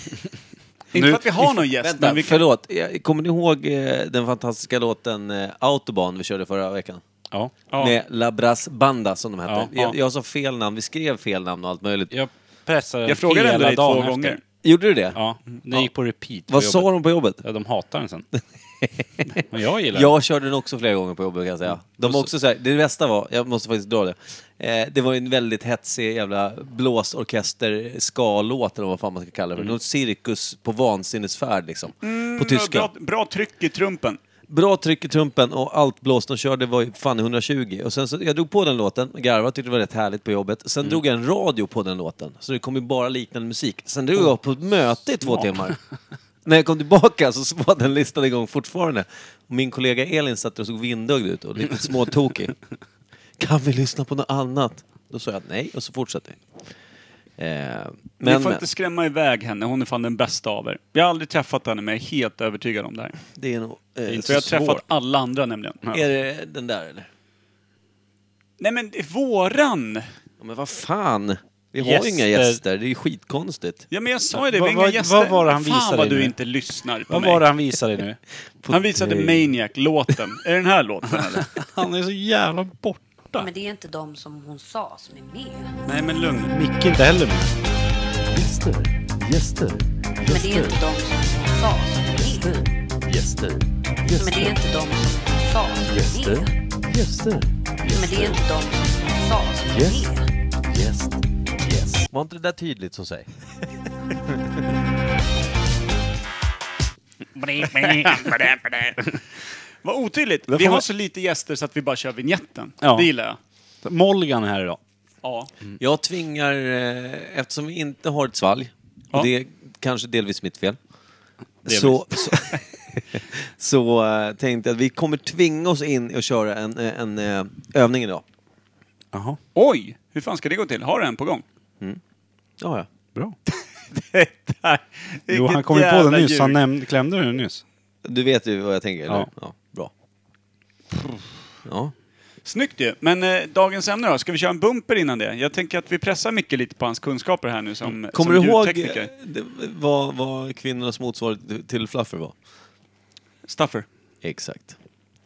Speaker 3: Inte för att vi har någon gäst,
Speaker 1: Vänta,
Speaker 3: men vi kan...
Speaker 1: förlåt. Jag- Kommer ni ihåg eh, den fantastiska låten eh, Autobahn vi körde förra veckan?
Speaker 4: Ja.
Speaker 3: Ja.
Speaker 1: Med Labras Banda som de hette.
Speaker 4: Ja,
Speaker 1: jag,
Speaker 4: ja.
Speaker 1: jag sa fel namn, vi skrev fel namn och allt möjligt.
Speaker 4: Jag pressade
Speaker 3: Jag frågade
Speaker 4: hela
Speaker 3: ändå dig
Speaker 4: dagen
Speaker 3: två
Speaker 4: efter.
Speaker 3: gånger. Mm,
Speaker 1: Gjorde du det?
Speaker 4: Mm. Ja, den gick på repeat på
Speaker 1: Vad
Speaker 4: jobbet.
Speaker 1: sa de på jobbet?
Speaker 4: Ja, de hatar den sen. Men jag gillar den.
Speaker 1: Jag körde den också flera gånger på jobbet kan jag säga. De var också så här, det bästa var, jag måste faktiskt dra det, eh, det var en väldigt hetsig jävla blåsorkester ska-låt eller vad fan man ska kalla det
Speaker 4: Mm.
Speaker 1: för. Någon cirkus på vansinnesfärd liksom. på tyska.
Speaker 3: Bra, bra tryck i trumpen.
Speaker 1: Bra tryck i trumpen och allt blås de körde var ju fan 120. Och sen så, jag drog på den låten, garvade, tyckte det var rätt härligt på jobbet. Sen
Speaker 3: Mm.
Speaker 1: drog jag en radio på den låten, så det kom ju bara liknande musik. Sen drog jag på ett möte i två timmar. När jag kom tillbaka så var den listan igång fortfarande. Och min kollega Elin satt och såg vindögd ut och lite småtokig. Kan vi lyssna på något annat? Då sa jag nej och så fortsatte vi. Eh,
Speaker 3: Men,
Speaker 1: men,
Speaker 3: ni får
Speaker 1: men
Speaker 3: inte skrämma iväg henne, hon är fan den bästa av er. Jag har aldrig träffat henne, men jag är helt övertygad om det här.
Speaker 1: det är nog... Eh,
Speaker 3: För jag har
Speaker 1: så
Speaker 3: träffat
Speaker 1: svårt.
Speaker 3: alla andra nämligen.
Speaker 1: Är det den där eller?
Speaker 3: Nej men det är våran!
Speaker 1: Ja, men vad fan! Vi har
Speaker 4: Gäster.
Speaker 1: ju inga gäster, det är ju skitkonstigt.
Speaker 3: Ja men jag sa ju det,
Speaker 4: Vad-
Speaker 3: vi har inga
Speaker 4: vad-
Speaker 3: gäster.
Speaker 4: vad var det han
Speaker 3: Fan
Speaker 4: visade
Speaker 3: vad
Speaker 4: dig
Speaker 3: du
Speaker 4: nu?
Speaker 3: inte lyssnar på
Speaker 4: Vad
Speaker 3: mig.
Speaker 4: var det han visade dig nu?
Speaker 3: Han visade Maniac-låten. är det den här låten eller?
Speaker 4: Han är så jävla borta.
Speaker 8: Men det är inte de som hon sa som är med.
Speaker 3: Nej men lugn.
Speaker 4: Micke inte heller med.
Speaker 7: Gäster, gäster,
Speaker 8: Men det är inte
Speaker 7: gäster,
Speaker 8: de som hon sa som är med.
Speaker 7: gäster,
Speaker 8: Men det är
Speaker 7: gäster,
Speaker 8: inte de som hon sa som är
Speaker 7: gäster,
Speaker 8: med.
Speaker 7: gäster,
Speaker 8: Men det är inte de som hon sa som
Speaker 7: Yes.
Speaker 8: är med.
Speaker 7: gäst, gäst.
Speaker 1: Var inte det där tydligt som sig?
Speaker 3: Vad otydligt.
Speaker 4: får
Speaker 3: Vi har
Speaker 4: man-
Speaker 3: så lite gäster så att vi bara kör vignetten.
Speaker 4: Ja. Mm.
Speaker 3: Det gillar jag.
Speaker 4: Molgan är här idag.
Speaker 3: Ja.
Speaker 1: Mm. Jag tvingar, eh, eftersom vi inte har ett svalg,
Speaker 3: Ja.
Speaker 1: och det är kanske delvis mitt fel,
Speaker 4: Delvis.
Speaker 1: så, så, så eh, tänkte jag att vi kommer tvinga oss in och köra en, eh, en eh, övning idag.
Speaker 4: Jaha,
Speaker 3: Oj! Hur fan ska det gå till? Har du en på gång?
Speaker 1: Ja, ja.
Speaker 4: bra.
Speaker 3: Det här-
Speaker 4: Jo, han
Speaker 3: vilket
Speaker 4: kom ju på
Speaker 3: jävla
Speaker 4: den nyss.
Speaker 3: ljug.
Speaker 4: Han nämnde, klämde den nyss.
Speaker 1: Du vet ju vad jag tänker, eller?
Speaker 4: Ja.
Speaker 1: ja. Bra. Ja.
Speaker 3: Snyggt ju. Men eh, dagens ämne då? Ska vi köra en bumper innan det? Jag tänker att vi pressar Micke lite på hans kunskaper här nu som,
Speaker 1: Kommer
Speaker 3: som
Speaker 1: du ihåg eh,
Speaker 3: ljudtekniker.
Speaker 1: det- vad, vad kvinnornas motsvarighet till fluffer var?
Speaker 3: Stuffer.
Speaker 1: Exakt.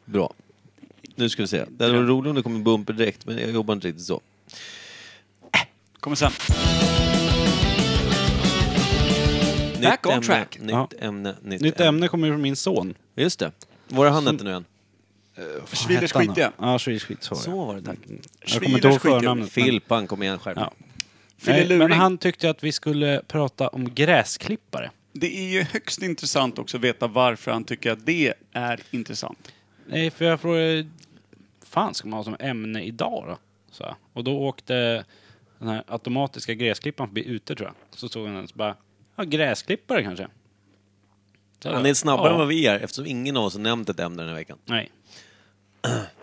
Speaker 1: Bra. Nu ska vi se. Det hade varit roligt om det kom en bumper direkt, men jag jobbar inte riktigt så.
Speaker 3: Kommer sen.
Speaker 1: Nytt
Speaker 3: on
Speaker 1: ämne,
Speaker 3: track.
Speaker 1: Nytt
Speaker 4: Ja.
Speaker 1: ämne, Mm. nytt,
Speaker 4: Nytt ämne kommer ju från min son.
Speaker 1: Just det. Var är han hette nu igen?
Speaker 3: Schweders
Speaker 4: Hette han
Speaker 3: skitiga.
Speaker 4: då? Ja, Schweders skit. Så var
Speaker 1: Så var det, tack.
Speaker 4: det. Jag kommer inte ihåg
Speaker 3: Schweders
Speaker 4: förnamnet. men-
Speaker 1: Filpan, kom igen, skärp
Speaker 4: Ja.
Speaker 3: Fille
Speaker 4: Nej, men
Speaker 3: Luring.
Speaker 4: han tyckte att vi skulle prata om gräsklippare.
Speaker 3: Det är ju högst intressant också att veta varför han tycker att det är intressant.
Speaker 4: Nej, för jag frågade... Fan ska man ha som ämne idag då? Så här. Och då åkte den här automatiska gräsklipparen förbi ute tror jag. Så såg han den så bara... Ja, gräsklippare kanske. Så jag
Speaker 1: Han
Speaker 4: bara,
Speaker 1: är snabbare
Speaker 4: ja.
Speaker 1: än vad vi är eftersom ingen av oss har nämnt ett ämne den här veckan.
Speaker 4: Nej.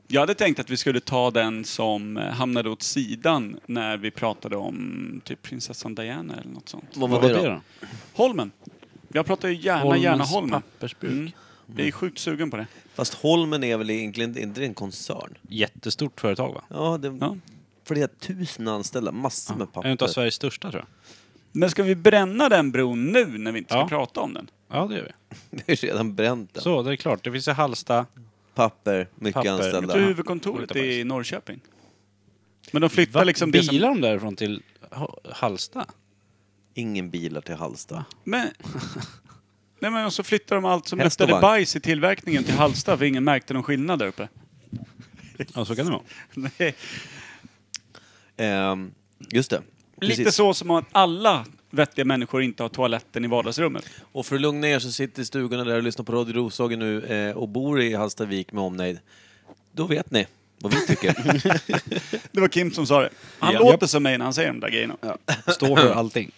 Speaker 3: Jag hade tänkt att vi skulle ta den som eh, hamnade åt sidan när vi pratade om typ prinsessan Diana eller något sånt.
Speaker 1: Vad
Speaker 4: Vad var det då?
Speaker 3: Holmen. Jag pratar ju gärna, Äh, gärna
Speaker 4: Holmens
Speaker 3: Holmen.
Speaker 4: pappersbruk.
Speaker 3: Mm. Jag är sjukt sugen på det.
Speaker 1: Fast Holmen är väl egentligen inte- inte det en koncern?
Speaker 4: Jättestort företag va?
Speaker 1: Ja, det
Speaker 3: Ja.
Speaker 1: är flera tusen anställda, massor med
Speaker 4: En av
Speaker 1: papper.
Speaker 4: Sveriges största tror
Speaker 3: Men ska vi bränna den bron nu när vi inte ska
Speaker 4: Ja.
Speaker 3: prata om den?
Speaker 4: jag. Ja, det gör vi.
Speaker 1: Vi har ju redan bränt den.
Speaker 4: Så, det är klart. Det finns i Halsta.
Speaker 1: Papper, mycket
Speaker 4: Papper.
Speaker 1: anställda.
Speaker 3: Så huvudkontoret är i Norrköping. Men de flyttar
Speaker 4: Va?
Speaker 3: liksom det
Speaker 4: Bilar
Speaker 3: som...
Speaker 4: de därifrån till Ha- Halsta?
Speaker 1: Ingen bilar till Halsta.
Speaker 3: Men... Nej men och så flyttar de allt som
Speaker 1: Häst och
Speaker 3: luktade
Speaker 1: vagn.
Speaker 3: bajs i tillverkningen till Hallsta för ingen märkte någon skillnad där uppe.
Speaker 2: Ja, så kan det vara.
Speaker 3: Nej.
Speaker 1: Ehm, just det.
Speaker 3: Lite
Speaker 1: Precis.
Speaker 3: så som att alla vettiga människor inte har toaletten i vardagsrummet.
Speaker 1: Och för att lugna er som sitter i stugorna där och lyssnar på Radio Roslagen nu eh, och bor i Hallstavik med omnejd. Då vet ni vad vi tycker.
Speaker 3: Det var Kim som sa det. Han
Speaker 2: Ja.
Speaker 3: låter som mig när han säger de där grejerna.
Speaker 2: Står för allting.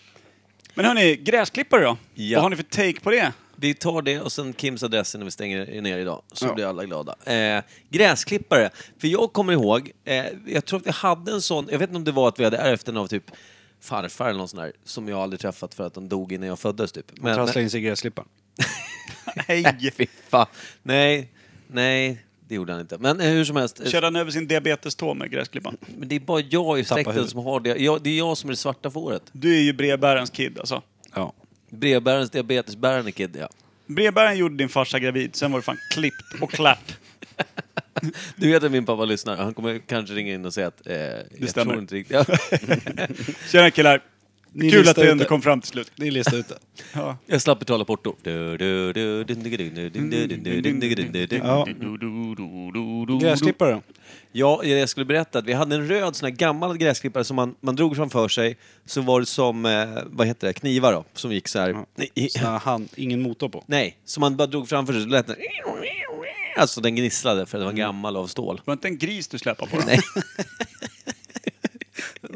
Speaker 3: Men hörni, gräsklippare då?
Speaker 1: Ja.
Speaker 3: Vad har ni för take på det?
Speaker 1: vi tar det och sen Kims adress när vi stänger ner idag, så blir alla glada. Eh, gräsklippare. För jag kommer ihåg, eh, jag tror att vi hade en sån, jag vet inte om det var att vi hade ärvt den av typ farfar eller någon sån där, som jag aldrig träffat för att de dog innan jag föddes typ. Men-
Speaker 2: Trasslar in sig i gräsklippan.
Speaker 3: Nej!
Speaker 1: Fy fan. Nej, nej, det gjorde han inte. Men eh, hur som helst. eh,
Speaker 3: Körde han över sin diabetestå med gräsklippan?
Speaker 1: Men det är bara jag i släkten
Speaker 2: huvudet.
Speaker 1: som har det. Jag, det är jag som är det svarta fåret.
Speaker 3: Du är ju brevbärarens kid alltså.
Speaker 2: Ja.
Speaker 1: Brevbärarens diabetesbärande kid, ja.
Speaker 3: Brevbäraren gjorde din farsa gravid, sen var det fan klippt och klart.
Speaker 1: Du vet att min pappa lyssnar. Han kommer kanske ringa in och säga att... Eh, det jag
Speaker 3: stämmer.
Speaker 1: Tror inte riktigt. Ja.
Speaker 3: Tjena killar!
Speaker 2: Ni
Speaker 3: Kul att
Speaker 2: listar
Speaker 3: du
Speaker 2: ut
Speaker 3: ändå
Speaker 2: det.
Speaker 3: kom fram till slut.
Speaker 2: Ni listar ut det.
Speaker 3: Ja.
Speaker 1: Jag slapp betala porto. Du, du, du, dun, dun, dun, dun, dun, dun, dun, dun, dun, dun, dun.
Speaker 2: Ja. Gräsklippare då?
Speaker 1: Ja, jag skulle berätta att vi hade en röd sån här gammal gräsklippare som man, man drog framför sig. Så var det som, eh, vad heter det, knivar då, som gick så här. i-
Speaker 2: Så han, ingen motor på.
Speaker 1: Nej, som man bara drog framför sig så lät den... Alltså den gnisslade för den var gammal av stål.
Speaker 3: Var det inte en gris du släpade på? Nej.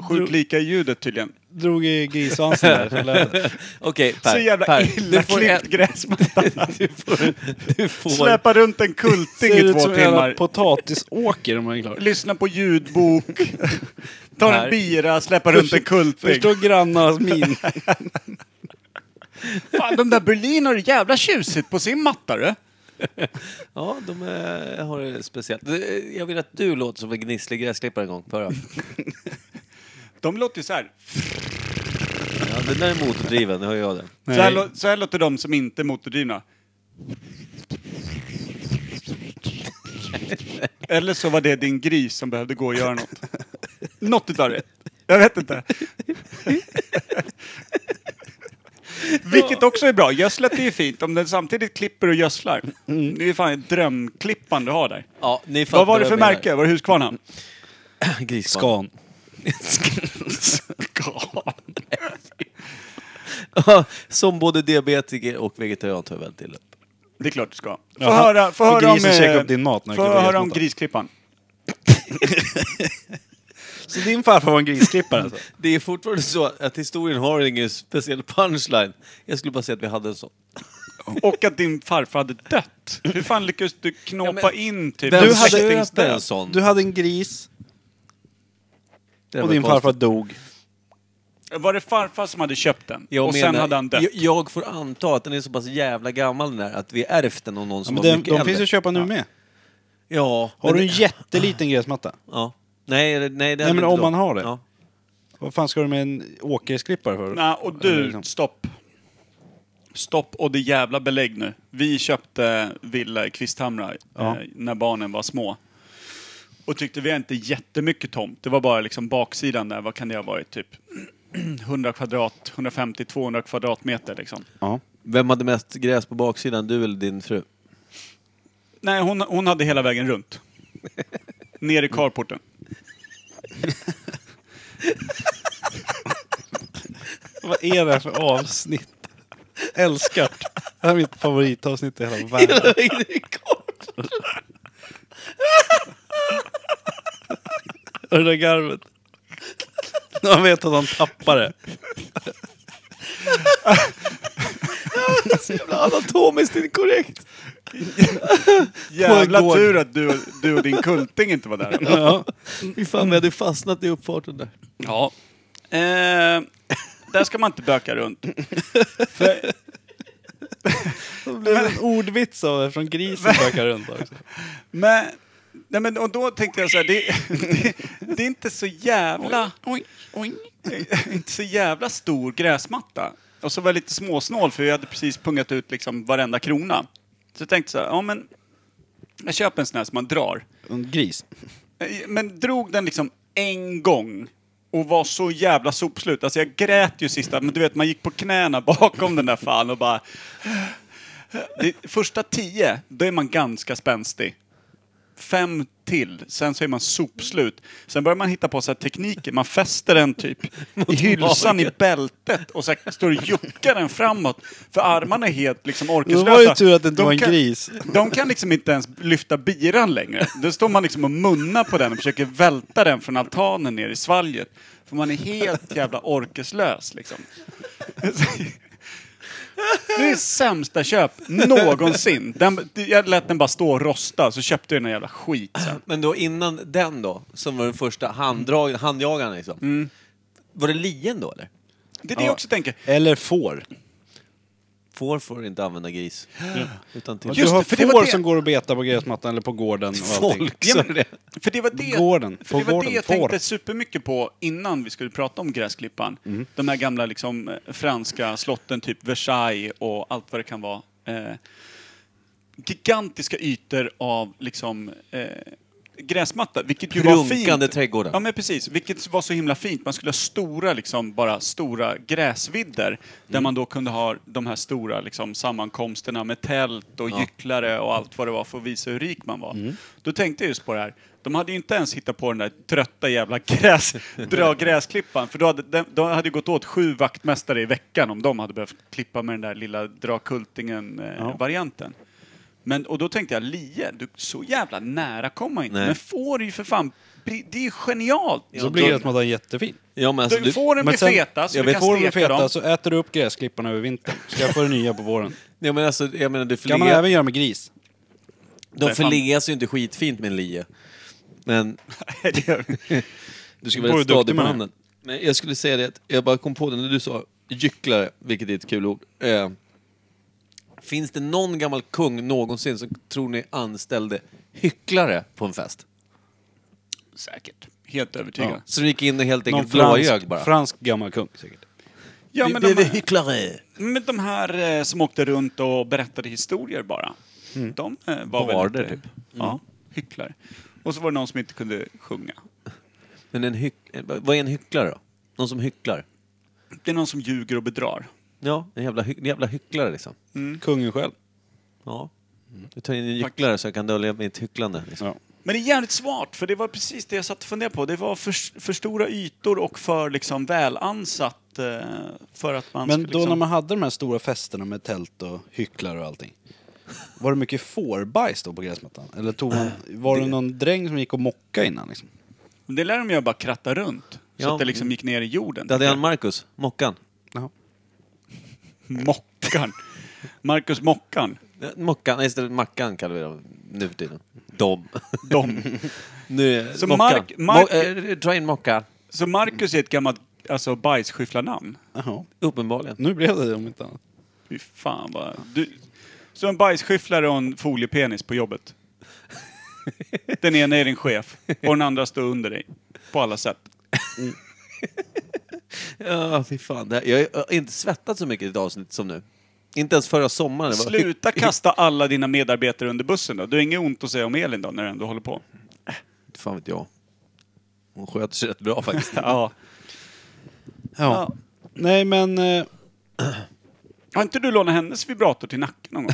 Speaker 3: Sjukt lika i ljudet tydligen.
Speaker 2: Drog i grissvansen där. så lät det.
Speaker 1: Okej, Per.
Speaker 3: Så jävla
Speaker 1: per,
Speaker 3: illa klippt gräsmatta.
Speaker 1: du får, du får,
Speaker 3: Släpa runt en kulting
Speaker 2: Ser
Speaker 3: i
Speaker 2: ut
Speaker 3: två
Speaker 2: som en jävla
Speaker 3: timmar.
Speaker 2: potatisåker om man är klar.
Speaker 3: Lyssna på ljudbok. Ta
Speaker 1: Per.
Speaker 3: en bira, släpa runt en kulting.
Speaker 2: Förstå grannarnas min.
Speaker 3: Fan, de där Berlin har det jävla tjusigt på sin matta du.
Speaker 1: Ja, de eh, har det speciellt. Du, eh, Jag vill att du låter som en gnisslig gräsklippare en gång. För ja,
Speaker 3: De låter ju så här.
Speaker 1: den där är motordriven, det hör jag det.
Speaker 3: Så här, lå- så här låter de som inte är motordrivna. Eller så var det din gris som behövde gå och göra något. Något utav det. Jag vet inte. Vilket också är bra. Gödslet är ju fint om den samtidigt klipper och gödslar. Det är ju fan ett drömklippan du har där.
Speaker 1: Ja, ni fattar
Speaker 3: Vad var det
Speaker 1: jag
Speaker 3: för
Speaker 1: menar.
Speaker 3: märke? Var det Husqvarna?
Speaker 1: Grisbarn.
Speaker 2: Scan.
Speaker 1: som både diabetiker och vegetarian tar jag väl till.
Speaker 3: Det är klart du ska. Få
Speaker 2: Jaha.
Speaker 3: höra, få
Speaker 2: Och
Speaker 3: höra om,
Speaker 2: grisen käkar
Speaker 3: eh,
Speaker 2: upp din mat när du
Speaker 3: få
Speaker 2: klipper
Speaker 3: höra om
Speaker 2: gräsmattan.
Speaker 3: grisklippan.
Speaker 2: Så din farfar var en grisklippare alltså?
Speaker 1: Det är fortfarande så att historien har ingen speciell punchline. Jag skulle bara säga att vi hade en sån.
Speaker 3: Och att din farfar hade dött. Hur fan lyckades du knåpa
Speaker 1: Ja, men-
Speaker 3: in typ
Speaker 1: Vem
Speaker 3: en
Speaker 2: Du hade-
Speaker 3: släktingsdöd?
Speaker 1: en sån?
Speaker 2: Du hade en gris
Speaker 1: Det
Speaker 2: och
Speaker 1: var
Speaker 2: din
Speaker 1: konstigt.
Speaker 2: farfar dog.
Speaker 3: Var det farfar som hade köpt den?
Speaker 1: Jag
Speaker 3: och sen
Speaker 1: menar-
Speaker 3: hade han dött?
Speaker 1: Jag, jag får anta att den är så pass jävla gammal den där att vi ärvt den av någon
Speaker 2: Ja,
Speaker 1: som
Speaker 2: men
Speaker 1: var
Speaker 2: de,
Speaker 1: mycket
Speaker 2: de
Speaker 1: äldre.
Speaker 2: finns ju att köpa nu med.
Speaker 1: Ja.
Speaker 2: Har du
Speaker 1: men-
Speaker 2: en jätteliten gräsmatta?
Speaker 1: Ja. Nej, det-
Speaker 2: Nej,
Speaker 1: nej, det
Speaker 2: men
Speaker 1: hade
Speaker 2: om
Speaker 1: inte
Speaker 2: man
Speaker 1: då.
Speaker 2: har det.
Speaker 1: Ja.
Speaker 2: Vad fan ska du med en åkersklippare för?
Speaker 3: Nej, och
Speaker 2: Eller
Speaker 3: du,
Speaker 2: liksom-
Speaker 3: stopp. Stopp och det jävla belägg nu. Vi köpte villa i Kvisthamra
Speaker 2: Ja.
Speaker 3: eh, när barnen var små. Och tyckte vi har inte jättemycket tomt. Det var bara liksom baksidan där, vad kan det ha varit? Typ 100 kvadrat, 150-200 kvadratmeter liksom.
Speaker 2: Ja.
Speaker 1: Vem hade mest gräs på baksidan, du eller din fru?
Speaker 3: Nej, hon, hon hade hela vägen runt. Ner i carporten.
Speaker 2: Vad är det här för avsnitt? Älskar det. Det här är mitt favoritavsnitt i hela världen. Och det där garvet. När man vet att han tappar det.
Speaker 1: Anatomiskt inkorrekt!
Speaker 3: Jävla
Speaker 1: gård.
Speaker 3: tur att du, du och din kulting inte var där.
Speaker 2: Ja.
Speaker 1: Fy fan, vi hade fastnat i uppfarten där.
Speaker 3: Ja. Eh, där ska man inte böka runt.
Speaker 2: Det blev en ordvits av det från grisen bökar runt också.
Speaker 3: Men, nej men, och då tänkte jag så här, det, det, det är inte så jävla... Eh, inte så jävla stor gräsmatta. Och så var jag lite småsnål för jag hade precis pungat ut liksom varenda krona. Så jag tänkte så här, ja men... Jag köper en sån här som man drar.
Speaker 2: En gris.
Speaker 3: Men drog den liksom en gång och var så jävla sopslut. Alltså jag grät ju sista, men du vet man gick på knäna bakom den där fan och bara... Det, första tio, då är man ganska spänstig. fem till, sen så är man sopslut. Sen börjar man hitta på så här tekniker, man fäster den typ i hylsan i bältet och så här står och juckar den framåt. För armarna är helt liksom orkeslösa.
Speaker 4: Det var ju tur att det inte
Speaker 3: De
Speaker 4: var en
Speaker 3: kan-
Speaker 4: gris.
Speaker 3: De kan liksom inte ens lyfta biran längre. Då står man liksom och munnar på den och försöker välta den från altanen ner i svalget. För man är helt jävla orkeslös liksom. Det är sämsta köp någonsin. Den, jag lät den bara stå och rosta, så köpte jag den här jävla skit sen.
Speaker 1: Men då innan den då, som var den första handdrag, handjagaren liksom. Var det lien då eller?
Speaker 3: Det är det jag också tänker.
Speaker 4: Eller får.
Speaker 1: Får får inte använda gris. Utan till
Speaker 4: Du
Speaker 3: Just
Speaker 4: har
Speaker 3: det, för det var
Speaker 4: får
Speaker 3: det-
Speaker 4: som går och betar på gräsmattan eller på gården och allting.
Speaker 1: folk. Så det.
Speaker 3: För det var det,
Speaker 4: Gården.
Speaker 3: för det, var
Speaker 4: Fårgården.
Speaker 3: det jag
Speaker 4: Får.
Speaker 3: tänkte supermycket på innan vi skulle prata om gräsklipparen.
Speaker 4: Mm.
Speaker 3: De här gamla liksom, eh, franska slotten, typ Versailles och allt vad det kan vara. Eh, gigantiska ytor av liksom, eh, gräsmatta, vilket ju var
Speaker 1: Prunkande
Speaker 3: fint.
Speaker 1: trädgårdar.
Speaker 3: Ja, men precis. Vilket var så himla fint. Man skulle ha stora, liksom, bara stora gräsvidder där man då kunde ha de här stora liksom, sammankomsterna med tält och gycklare och allt vad det var för att visa hur rik man var. Då tänkte jag just på det här. De hade ju inte ens hittat på den där trötta jävla gräs, dra gräsklippan. För då hade, den- då hade det gått åt sju vaktmästare i veckan om de hade behövt klippa med den där lilla dra eh, kultingen-varianten. Men, och då tänkte jag, lie, du, så jävla nära kommer man inte.
Speaker 1: Nej.
Speaker 3: Men får är ju för fan, det är ju genialt!
Speaker 4: Så blir gräsmattan jättefin.
Speaker 1: Ja, men alltså,
Speaker 3: du,
Speaker 1: du,
Speaker 3: fåren blir
Speaker 4: Men sen-
Speaker 3: feta, så
Speaker 4: jag
Speaker 3: du
Speaker 4: vet,
Speaker 3: kan
Speaker 4: får de
Speaker 3: steka
Speaker 4: feta
Speaker 3: dem.
Speaker 4: så äter du upp gräsklipparna över vintern. Skaffar du nya på våren.
Speaker 1: ja, men alltså, jag menar, du
Speaker 4: Kan man
Speaker 1: förlegar-
Speaker 4: även göra med gris.
Speaker 1: De
Speaker 3: Nej, fan.
Speaker 1: förlegas ju inte skitfint med en lie. Men
Speaker 3: Nej, det gör vi.
Speaker 1: du ska
Speaker 4: Vore
Speaker 1: vara
Speaker 4: duktig
Speaker 1: stadig på
Speaker 4: med det.
Speaker 1: handen. Men jag skulle säga det, att jag bara kom på det när du sa gycklare, vilket är ett kul ord. Eh, finns det någon gammal kung någonsin som tror ni anställde hycklare på en fest?
Speaker 3: Säkert. Helt övertygad.
Speaker 1: Så de gick in och helt
Speaker 4: Någon
Speaker 1: enkelt
Speaker 4: fransk,
Speaker 1: blåljög bara.
Speaker 4: fransk gammal kung säkert.
Speaker 3: Ja,
Speaker 1: Vi
Speaker 3: men
Speaker 1: blev
Speaker 3: de, här,
Speaker 1: hycklare!
Speaker 3: men de här eh, som åkte runt och berättade historier bara.
Speaker 4: Mm.
Speaker 3: De eh, var väl
Speaker 1: Barder,
Speaker 3: lite, typ. Ja, hycklare. Och så var det någon som inte kunde sjunga.
Speaker 1: Men en hyck... eh, vad är en hycklare då? Någon som hycklar?
Speaker 3: Det är någon som ljuger och bedrar.
Speaker 1: Ja, en jävla, hy- en jävla hycklare liksom.
Speaker 3: Mm.
Speaker 4: Kungen själv.
Speaker 1: Ja. Du tar in en gycklare så jag kan dölja mitt hycklande. Liksom.
Speaker 4: Ja.
Speaker 3: Men det är jävligt svårt, för det var precis det jag satt och funderade på. Det var för, för stora ytor och för liksom välansatt eh, för att man
Speaker 4: Men
Speaker 3: skulle
Speaker 4: då
Speaker 3: liksom...
Speaker 4: när man hade de här stora festerna med tält och hycklar och allting. Var det mycket fårbajs då på gräsmattan? Eller tog man, var det någon dräng som gick och mocka innan liksom?
Speaker 3: Det lär de göra, bara kratta runt. Så
Speaker 1: Ja.
Speaker 3: att det liksom gick ner i jorden.
Speaker 1: Det hade han Marcus, Mockan.
Speaker 4: Jaha.
Speaker 3: Mockan. Marcus Mockan.
Speaker 1: Eh, Mockan, nej istället Mackan kallar vi dem nu för tiden. Dom.
Speaker 3: De.
Speaker 1: nu, är-
Speaker 3: Så
Speaker 1: Mockan.
Speaker 3: Mark- Mark-
Speaker 1: Mo- eh, dra in Mockan.
Speaker 3: Så Marcus är ett gammalt alltså, bajsskyfflarnamn.
Speaker 4: Jaha.
Speaker 1: Uppenbarligen.
Speaker 4: Nu blev det det om inte annat.
Speaker 3: Fy fan vad... Du... Så en bajsskyfflare och en foliepenis på jobbet. Den ena är din chef och den andra står under dig. På alla sätt.
Speaker 1: Ja, fy fan. Det här, jag har inte svettat så mycket i ett avsnitt som nu. Inte ens förra sommaren. Det var-
Speaker 3: Sluta kasta alla dina medarbetare under bussen då. Du har inget ont att säga om Elin då, när du ändå håller på.
Speaker 1: Fan vet jag. Hon sköter sig rätt bra faktiskt.
Speaker 3: Ja.
Speaker 4: Ja. Nej men... eh,
Speaker 3: Har inte du lånat hennes vibrator till nacken någon gång?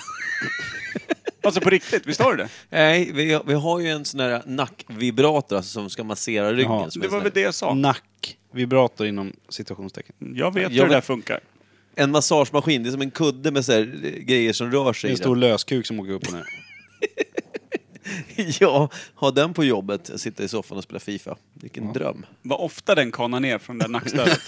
Speaker 3: alltså på riktigt, visst har du det?
Speaker 1: Nej, vi, vi har ju en sån här nackvibrator alltså, som ska massera ryggen.
Speaker 4: Jaha.
Speaker 1: som är
Speaker 3: Det
Speaker 1: en
Speaker 3: var
Speaker 1: sån här-
Speaker 3: väl det jag sa. Mm,
Speaker 4: Nack. Vibrator inom citationstecken.
Speaker 3: Jag vet hur
Speaker 1: Jag
Speaker 3: det där
Speaker 1: vet-
Speaker 3: funkar.
Speaker 1: En massagemaskin, det är som en kudde med så här, eh, grejer som rör
Speaker 4: Det
Speaker 1: sig.
Speaker 4: är en
Speaker 1: i
Speaker 4: stor löskuk som åker upp och ner.
Speaker 1: den. ja, ha den på jobbet, sitta i soffan och spela Fifa. Vilken dröm.
Speaker 3: Vad ofta den kanar ner från det där nackstödet.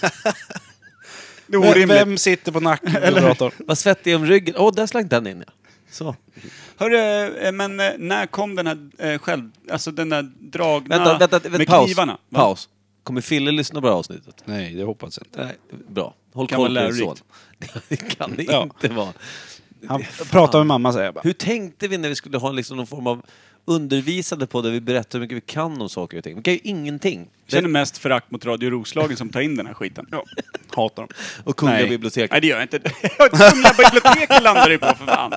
Speaker 3: Det
Speaker 4: Vem,
Speaker 3: är orimligt.
Speaker 4: vem sitter på nacken med vibrator?
Speaker 1: Vad svettig om ryggen. Åh, där slank den in ja. Så.
Speaker 3: Hörru, eh, men eh, när kom den här eh, själv... Alltså den där dragna
Speaker 1: Vänta, vänta, vänta
Speaker 3: med
Speaker 1: paus.
Speaker 3: knivarna. va?
Speaker 1: Paus. Kommer Fille lyssna på det här avsnitt?
Speaker 4: Nej, det hoppas jag inte.
Speaker 1: Nej, bra. Håll
Speaker 3: Kan
Speaker 1: koll på
Speaker 3: vara
Speaker 1: din son.
Speaker 3: lärorikt.
Speaker 1: Det kan det
Speaker 4: Ja.
Speaker 1: inte vara.
Speaker 4: Han pratar med mamma säger jag bara.
Speaker 1: Hur tänkte vi när vi skulle ha liksom någon form av undervisande på där vi berättar hur mycket vi kan om saker och ting? Vi kan ju ingenting.
Speaker 3: Känner mest förakt mot Radio Roslagen som tar in den här skiten.
Speaker 4: Hatar dem.
Speaker 1: Och Kungliga
Speaker 4: Nej.
Speaker 1: biblioteket.
Speaker 3: Nej, det gör jag inte. Kungliga biblioteket landar det på för fan.